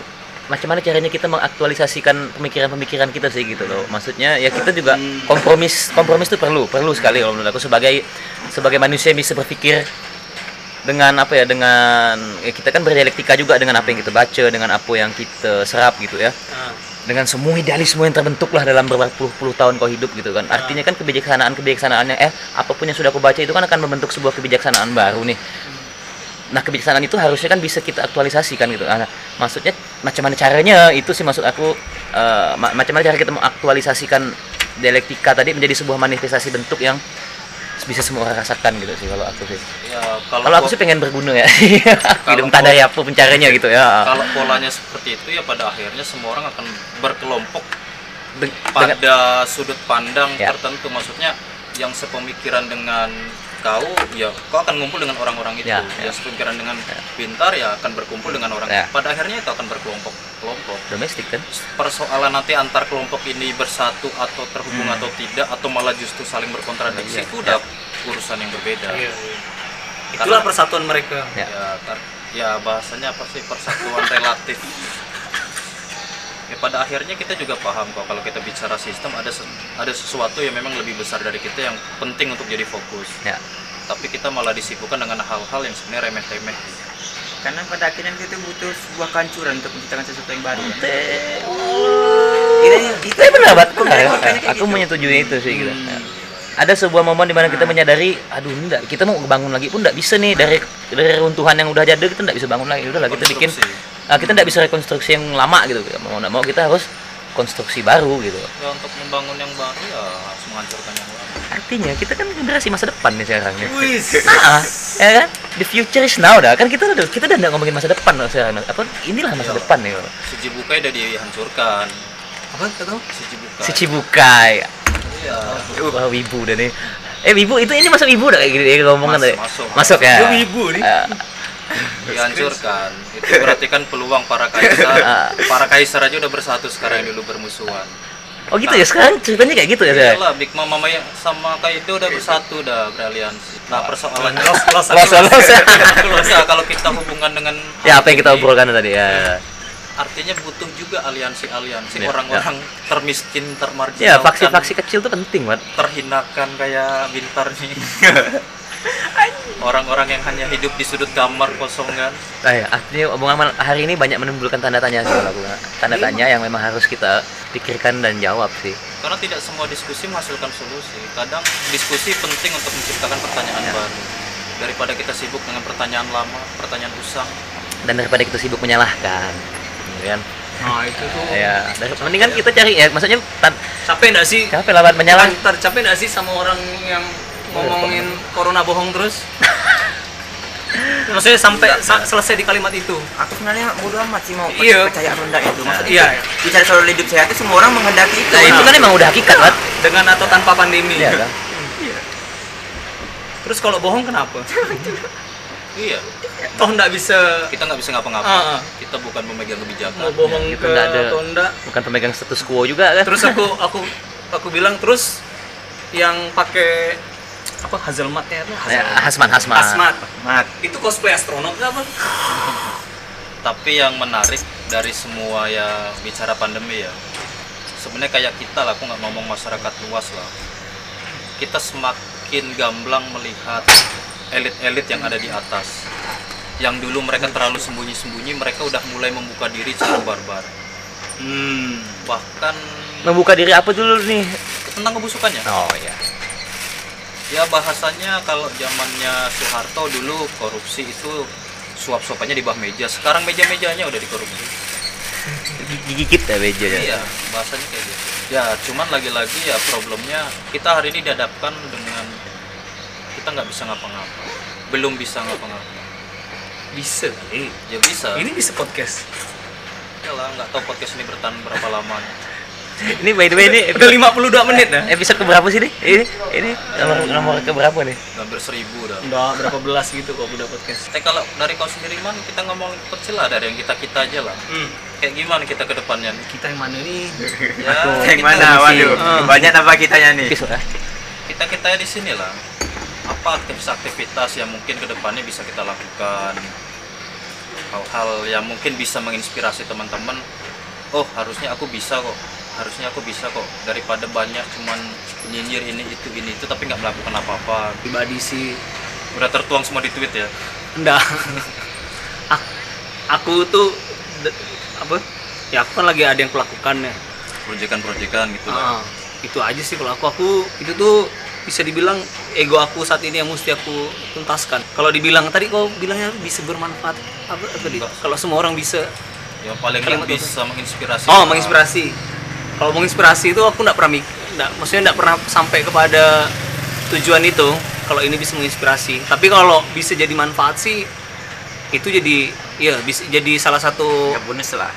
S1: macam mana caranya kita mengaktualisasikan pemikiran-pemikiran kita sih gitu loh. Maksudnya ya kita juga
S3: Hmm.
S1: kompromis kompromis itu perlu, perlu sekali kalau menurut aku sebagai sebagai manusia yang bisa berpikir dengan apa ya dengan ya kita kan berdialektika juga dengan apa yang kita baca, dengan apa yang kita serap gitu ya.
S3: Nah,
S1: Dengan semua idealisme yang terbentuk lah dalam berpuluh-puluh tahun kau hidup gitu kan. Artinya kan kebijaksanaan-kebijaksanaannya eh apapun yang sudah aku baca itu kan akan membentuk sebuah kebijaksanaan baru nih nah kebijaksanaan itu harusnya kan bisa kita aktualisasikan gitu Nah, maksudnya macam mana caranya itu sih maksud aku eh, ma- macam mana cara kita mengaktualisasikan dialektika tadi menjadi sebuah manifestasi bentuk yang bisa semua orang rasakan gitu sih kalau aku sih
S4: ya
S1: kalau aku
S4: gua-
S1: sih pengen berguna ya
S4: Kalau
S1: hidup entah dari apa pun caranya gitu ya
S4: kalau polanya seperti itu ya pada akhirnya semua orang akan berkelompok
S1: De- dengan-
S4: pada sudut pandang
S1: Ya.
S4: tertentu maksudnya yang sepemikiran dengan kau ya kau akan ngumpul dengan orang-orang itu
S1: Ya, ya.
S4: yang sepemikiran dengan pintar ya akan berkumpul dengan orang
S1: Ya.
S4: itu. pada akhirnya itu akan berkelompok kelompok
S1: domestik kan
S4: persoalan nanti antar kelompok ini bersatu atau terhubung
S1: Hmm.
S4: atau tidak atau malah justru saling
S1: Iya,
S4: berkontradiksi
S3: Iya.
S4: itu udah urusan yang berbeda
S3: itulah persatuan mereka
S1: Ya.
S4: ya tar- ya bahasanya apa sih persatuan relatif ya pada akhirnya kita juga paham kok kalau kita bicara sistem ada se- ada sesuatu yang memang lebih besar dari kita yang penting untuk jadi fokus
S1: ya
S4: tapi kita malah disibukkan dengan hal-hal yang sebenarnya remeh-temeh
S5: karena pada akhirnya kita butuh sebuah kancuran untuk menciptakan sesuatu yang baru kan?
S1: Itu
S4: gitu.
S1: itu ya benar, Bat. Benar. ya. Aku menyetujui itu sih gitu.
S4: Hmm.
S1: Ya. Ada sebuah momen di mana
S4: Nah.
S1: kita menyadari, aduh enggak, kita mau bangun lagi pun enggak bisa nih dari dari runtuhan yang udah jadi kita enggak bisa bangun lagi. Udahlah kita bikin
S4: Konstruksi.
S1: ah, kita enggak bisa rekonstruksi yang lama gitu. Mau enggak mau kita harus konstruksi baru gitu.
S4: ya untuk membangun yang baru ya harus menghancurkan yang lama
S1: Artinya kita kan generasi masa depan nih sekarang nih. Ah, ya kan? The future is now dah. Kan kita udah kita udah enggak ngomongin masa depan loh sekarang. Apa inilah masa
S4: Iya.
S1: depan gitu. nih. loh.
S4: si Cibukai udah dihancurkan apa tahu si Cibukai
S1: Si Cibukai.
S4: Iya.
S1: Wah wibu dah nih. Eh wibu itu ini masuk wibu dah kayak gini kayak ngomongan
S4: Masuk,
S1: tadi.
S4: masuk.
S1: Masuk ya.
S4: Dia wibu nih.
S1: Eh,
S4: dihancurkan itu berarti kan peluang para kaisar
S1: Ah.
S4: para kaisar aja udah bersatu sekarang yang dulu bermusuhan
S1: oh gitu ya sekarang ceritanya kayak gitu ya saya.
S4: Iyalah, Big Mama Maya sama kayak itu udah bersatu dah beraliansi. Nah persoalannya
S1: Los los.
S4: Nah, kalau kita hubungan dengan
S1: Ya apa yang kita
S4: ini,
S1: obrolkan tadi ya.
S4: Artinya butuh juga aliansi-aliansi
S1: Ya,
S4: orang-orang termiskin, termarginalkan,
S1: Ya faksi-faksi kecil tuh penting banget.
S4: terhinakan kayak Bintar nih. orang-orang yang hanya hidup di sudut kamar kan. kosongan.
S1: Nah, ya, artinya omongan hari ini banyak menimbulkan tanda tanya sih kalau aku. Tanda
S4: Iya.
S1: tanya yang memang harus kita pikirkan dan jawab sih.
S4: Karena tidak semua diskusi menghasilkan solusi. Kadang diskusi penting untuk menciptakan pertanyaan
S1: Iya.
S4: baru. Daripada kita sibuk dengan pertanyaan lama, pertanyaan usang.
S1: Dan daripada kita sibuk menyalahkan, gitu kan?
S3: nah itu tuh
S1: Ya, dari, mendingan kita cari ya. Maksudnya tan,
S3: capek nggak sih
S1: kenapa lawan menyalah?
S3: Ntar capek nggak sih sama orang yang
S1: Iya,
S3: ngomongin corona bohong terus maksudnya sampai sa- selesai di kalimat itu
S5: aku sebenarnya bodo amat sih mau
S3: Iya.
S5: percaya atau enggak itu maksudnya
S3: iya iya.
S5: bicara soal hidup sehat itu semua orang menghendaki itu
S1: Nah, itu kan emang udah hakikat, Mat.
S3: dengan atau tanpa pandemi
S1: Iya kan?
S3: terus kalau bohong kenapa
S4: Iya,
S3: toh nggak bisa
S4: kita nggak bisa ngapa-ngapa.
S3: Ah, ah.
S4: Kita bukan pemegang
S3: mau
S4: kebijakan.
S3: bohong
S1: Ya, gitu,
S3: ke
S1: nggak ada.
S3: atau enggak
S1: Bukan pemegang status quo juga kan?
S3: terus aku aku aku bilang terus yang pakai apa hazelmatnya itu
S1: Ya,
S3: hazelmat
S1: Hasman, Hasman.
S3: Hazmat.
S5: mat
S3: itu cosplay astronot nggak apa
S4: Tapi yang menarik dari semua ya bicara pandemi ya, sebenarnya kayak kita lah, aku nggak ngomong masyarakat luas lah. Kita semakin gamblang melihat elit-elit yang ada di atas. Yang dulu mereka terlalu sembunyi-sembunyi, mereka udah mulai membuka diri secara barbar.
S3: hmm
S4: Bahkan
S1: Membuka diri apa dulu nih?
S4: tentang kebusukannya.
S1: Oh iya.
S4: Ya bahasanya kalau zamannya Soeharto dulu korupsi itu suap-suapannya di bawah meja. Sekarang meja-mejanya udah dikorupsi.
S1: Gigit ya beja ya.
S4: Iya, bahasanya kayak gitu. Ya, cuman lagi-lagi ya problemnya kita hari ini dihadapkan dengan kita nggak bisa ngapa-ngapa. Belum bisa ngapa-ngapa.
S3: bisa kali.
S4: Ya bisa.
S3: ini bisa podcast
S4: Ya lah, nggak tahu podcast ini bertahan berapa lama.
S1: Ini by the way ini
S3: udah 52 menit ya? dah
S1: episode keberapa sih nih? Ini ini nomor nomor keberapa nih?
S4: Hampir seribu dah.
S3: udah berapa belas gitu kok udah podcast
S4: Eh kalau dari kau sendiri man, kita ngomong kecil lah dari yang kita kita aja lah.
S3: hmm.
S4: Kayak gimana kita ke depannya nih?
S3: kita yang mana nih
S4: Ya,
S5: yang
S4: kita-
S5: mana waduh
S3: Ah.
S5: banyak tambah kitanya nih
S1: Episode ah.
S4: kita kita di sini lah apa aktivitas-aktivitas yang mungkin kedepannya bisa kita lakukan hal-hal yang mungkin bisa menginspirasi teman-teman oh harusnya aku bisa kok harusnya aku bisa kok daripada banyak cuman nyinyir ini itu ini itu tapi nggak melakukan apa-apa
S3: pribadi sih
S4: udah tertuang semua di tweet ya
S3: enggak Ak- aku tuh de- apa ya aku kan lagi ada yang pelakukannya
S4: proyekan-proyekan gitu lah
S3: Ah, itu aja sih kalau aku aku itu tuh bisa dibilang ego aku saat ini yang mesti aku tuntaskan. Kalau dibilang tadi kau bilangnya bisa bermanfaat apa, apa di-
S4: Enggak.
S3: Kalau semua orang bisa
S4: ya paling nggak
S3: Kalimat apa?
S4: bisa menginspirasi
S3: oh menginspirasi. Kalau menginspirasi itu aku nggak pernah mik- nggak maksudnya nggak pernah sampai kepada tujuan itu. Kalau ini bisa menginspirasi. Tapi kalau bisa jadi manfaat sih itu jadi ya bisa jadi salah satu
S5: ya bonus lah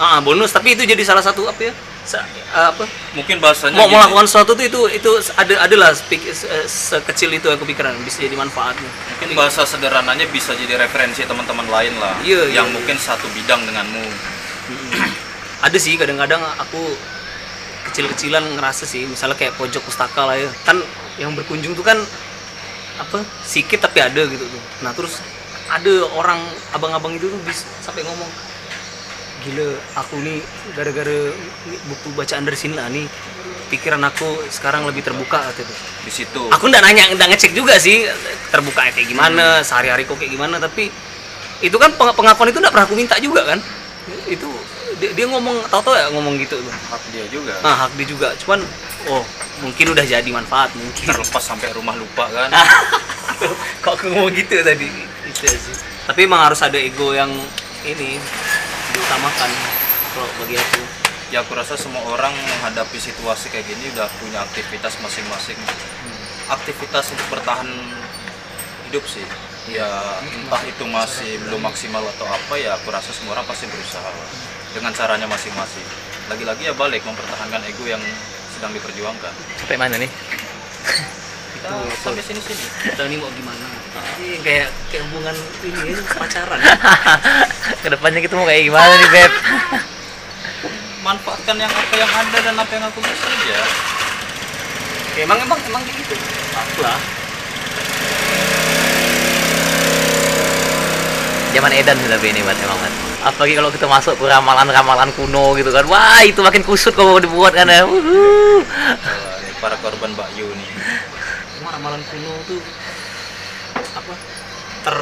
S3: ah, bonus. Tapi itu jadi salah satu apa ya? Sa- apa
S4: mungkin bahasanya
S3: mau
S4: gini.
S3: melakukan sesuatu tuh itu itu ada adalah speak- se- sekecil itu yang kepikiran bisa jadi manfaatnya
S4: mungkin bahasa sederhananya bisa jadi referensi teman-teman lain lah
S3: Iya, iya,
S4: yang
S3: iya.
S4: mungkin satu bidang denganmu
S3: ada sih kadang-kadang aku kecil-kecilan ngerasa sih misalnya kayak pojok pustaka lah ya kan yang berkunjung tuh kan apa sikit tapi ada gitu tuh nah terus ada orang abang-abang itu tuh bis- sampai ngomong gila aku nih gara-gara ni- buku bacaan dari sini lah nih pikiran aku sekarang lebih terbuka gitu.
S4: di situ
S3: Aku ndak nanya, ndak ngecek juga sih terbuka kayak gimana, sehari-hari kok kayak gimana, tapi itu kan peng- pengakuan itu ndak pernah aku minta juga kan. Itu dia, dia ngomong tau-tau ya ngomong gitu.
S4: hak dia juga
S3: Nah, hak dia juga. Cuman oh, mungkin udah jadi manfaat mungkin.
S4: terlepas sampai rumah lupa kan
S3: Nah. kok aku ngomong gitu tadi itu sih tapi emang harus ada ego yang ini diutamakan kalau bagi aku
S4: ya aku rasa semua orang menghadapi situasi kayak gini udah punya aktivitas masing-masing aktivitas untuk bertahan hidup sih ya entah itu masih belum maksimal atau apa ya aku rasa semua orang pasti berusaha lah. dengan caranya masing-masing lagi-lagi ya balik mempertahankan ego yang sedang diperjuangkan
S1: Sampai mana nih?
S4: kita sampai sini sini
S3: kita ini mau gimana Ini kayak kayak hubungan ini ya, pacaran
S1: Kedepannya kita mau kayak gimana nih Beb?
S4: manfaatkan yang apa yang ada dan apa yang aku bisa aja
S3: Ya, emang emang emang kayak gitu aku lah
S1: Zaman edan sudah ini buat emang Mat. Apalagi kalau kita masuk ke ramalan-ramalan kuno gitu kan. Wah, itu makin kusut kalau dibuat kan ya. Wuhuu.
S4: Wah, ini para korban Mbak Yu nih
S3: cuma ramalan kuno tuh apa ter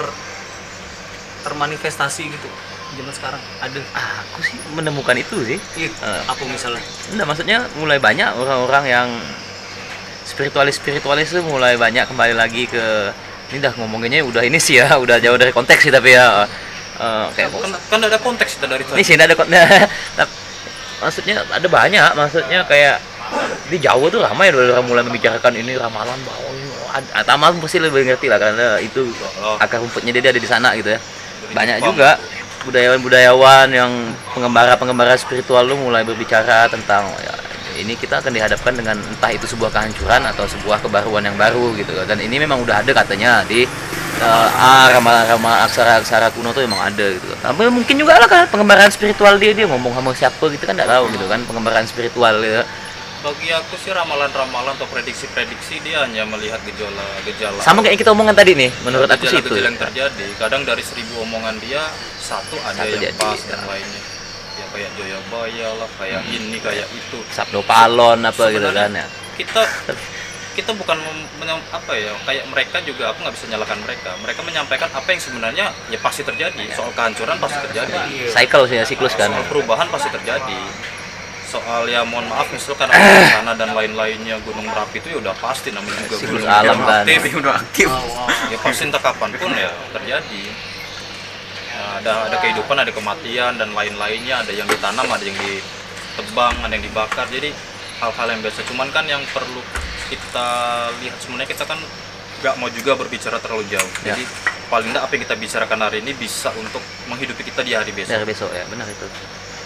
S3: termanifestasi gitu zaman sekarang ada
S1: Aku sih menemukan itu sih.
S3: iya
S1: Eh.
S3: aku misalnya
S1: Enggak, maksudnya mulai banyak orang-orang yang spiritualis-spiritualis tuh mulai banyak kembali lagi ke ini dah ngomonginnya udah ini sih ya, udah jauh dari konteks sih tapi ya eh, kayak
S4: kan, kan ada konteks kita dari tadi
S1: ini sih nggak ada kon- Tap- maksudnya ada banyak maksudnya kayak di Jawa tuh lama ya udah mulai membicarakan ini ramalan bahwa ini oh, Atama pasti lebih ngerti lah karena itu
S4: Oh.
S1: akar rumputnya dia ada di sana gitu ya banyak
S4: Jepang.
S1: juga budayawan-budayawan yang pengembara-pengembara spiritual lu mulai berbicara tentang ya, ini kita akan dihadapkan dengan entah itu sebuah kehancuran atau sebuah kebaruan yang baru gitu loh. dan ini memang udah ada katanya di eh, ah, ramalan-ramalan aksara-aksara kuno tuh emang ada gitu loh. tapi mungkin juga lah kan pengembaraan spiritual dia dia ngomong sama siapa gitu kan nggak tahu gitu kan pengembaraan spiritual gitu.
S4: Bagi aku sih ramalan-ramalan atau prediksi-prediksi dia hanya melihat gejala-gejala.
S1: sama kayak yang kita omongan tadi nih menurut aku sih itu ya.
S4: Gejala-gejala yang terjadi. Kadang dari seribu omongan dia satu ada
S1: Satu
S4: yang
S1: jadi,
S4: pas
S1: ya.
S4: dan lainnya. Ya kayak Joyabaya lah, kayak
S1: Hmm.
S4: ini, kayak itu.
S1: Sabdo Palon apa gitu kan
S4: Sebenarnya
S1: ya
S4: Kita kita bukan mem- menyam- apa ya kayak mereka juga aku nggak bisa nyalakan mereka mereka menyampaikan apa yang sebenarnya ya pasti terjadi soal kehancuran pasti terjadi
S1: cycle sih ya, siklus kan
S4: soal perubahan pasti terjadi soal ya mohon maaf misalkan ada tanah dan lain-lainnya gunung merapi itu ya udah pasti namanya juga
S1: Siklus
S4: gunung
S1: alam
S4: yang
S1: kan.
S4: aktif
S5: udah aktif
S4: ya pasti entah kapan pun ya terjadi Nah, ada ada kehidupan ada kematian dan lain-lainnya ada yang ditanam ada yang ditebang ada yang dibakar jadi hal-hal yang biasa cuman kan yang perlu kita lihat sebenarnya kita kan nggak mau juga berbicara terlalu jauh
S1: Ya.
S4: jadi paling tidak apa yang kita bicarakan hari ini bisa untuk menghidupi kita di hari besok
S1: dari besok ya benar itu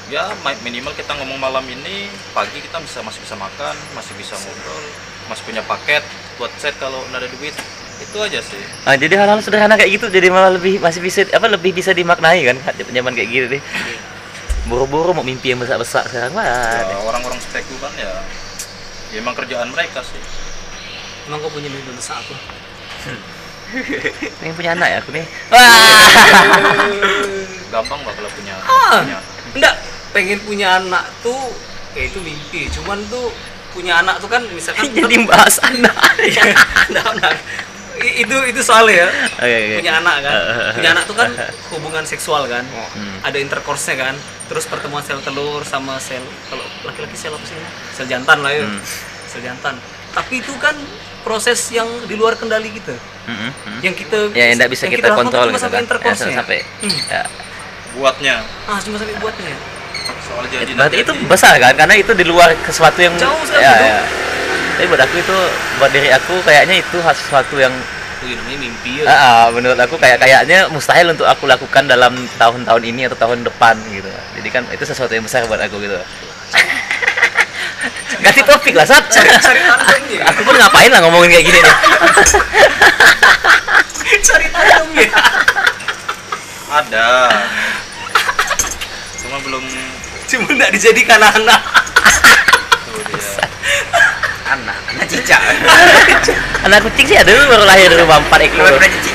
S4: ya ma- minimal kita ngomong malam ini pagi kita bisa masih bisa makan masih bisa ngobrol masih punya paket buat set kalau nggak ada duit itu aja sih
S1: Ah, jadi hal-hal sederhana kayak gitu jadi malah lebih masih bisa apa lebih bisa dimaknai kan zaman kayak gitu deh. Buru-buru mau mimpi yang besar-besar sekarang
S4: Ya,
S1: banget.
S4: orang-orang speku kan ya ya emang kerjaan mereka sih
S3: emang kau punya mimpi besar apa
S1: Pengen punya anak ya aku nih. Wah.
S4: gampang nggak kalau punya,
S3: Ah,
S4: punya.
S3: enggak pengen punya anak tuh ya itu mimpi cuman tuh punya anak tuh kan misalkan
S1: jadi bahas anak.
S3: enggak, enggak. I- itu itu soalnya ya
S1: Oke, oke.
S3: punya anak kan
S1: Eh,
S3: punya anak tuh kan hubungan seksual kan
S1: Hmm.
S3: ada intercourse-nya kan terus pertemuan sel telur sama sel kalau laki-laki sel apa sih sel jantan lah ya
S1: Hmm.
S3: sel jantan tapi itu kan proses yang di luar kendali kita
S1: Mm-mm, mm.
S3: yang kita
S1: Ya yang enggak bisa
S3: yang
S1: kita
S3: lakukan
S1: kontrol gitu
S3: cuma
S1: kan.
S3: sampai
S1: Ya,
S3: intercourse-nya.
S1: sampai
S3: Hmm.
S1: ya.
S4: buatnya
S3: ah cuma sampai buatnya
S4: soal jadi
S1: Berarti
S4: nanti
S1: itu
S4: jadi.
S1: besar kan karena itu di luar ke sesuatu yang
S3: Jauh sekali,
S1: ya,
S3: Dok.
S1: ya. Tapi buat aku itu buat diri aku kayaknya itu sesuatu yang
S3: itu namanya mimpi ya
S1: Ah, ah, menurut aku kayak kayaknya mustahil untuk aku lakukan dalam tahun-tahun ini atau tahun depan gitu. Jadi kan itu sesuatu yang besar buat aku gitu. Ganti topik lah, Sat.
S3: cari tandemnya
S1: Aku pun ngapain lah ngomongin kayak gini nih.
S3: cari tandemnya
S4: ada cuma belum
S3: cuma nggak dijadikan anak
S4: tuh dia
S5: anak anak cicak
S1: Anak kucing sih ada dulu baru lahir di rumah empat ekor.
S5: Baru lahir cicak.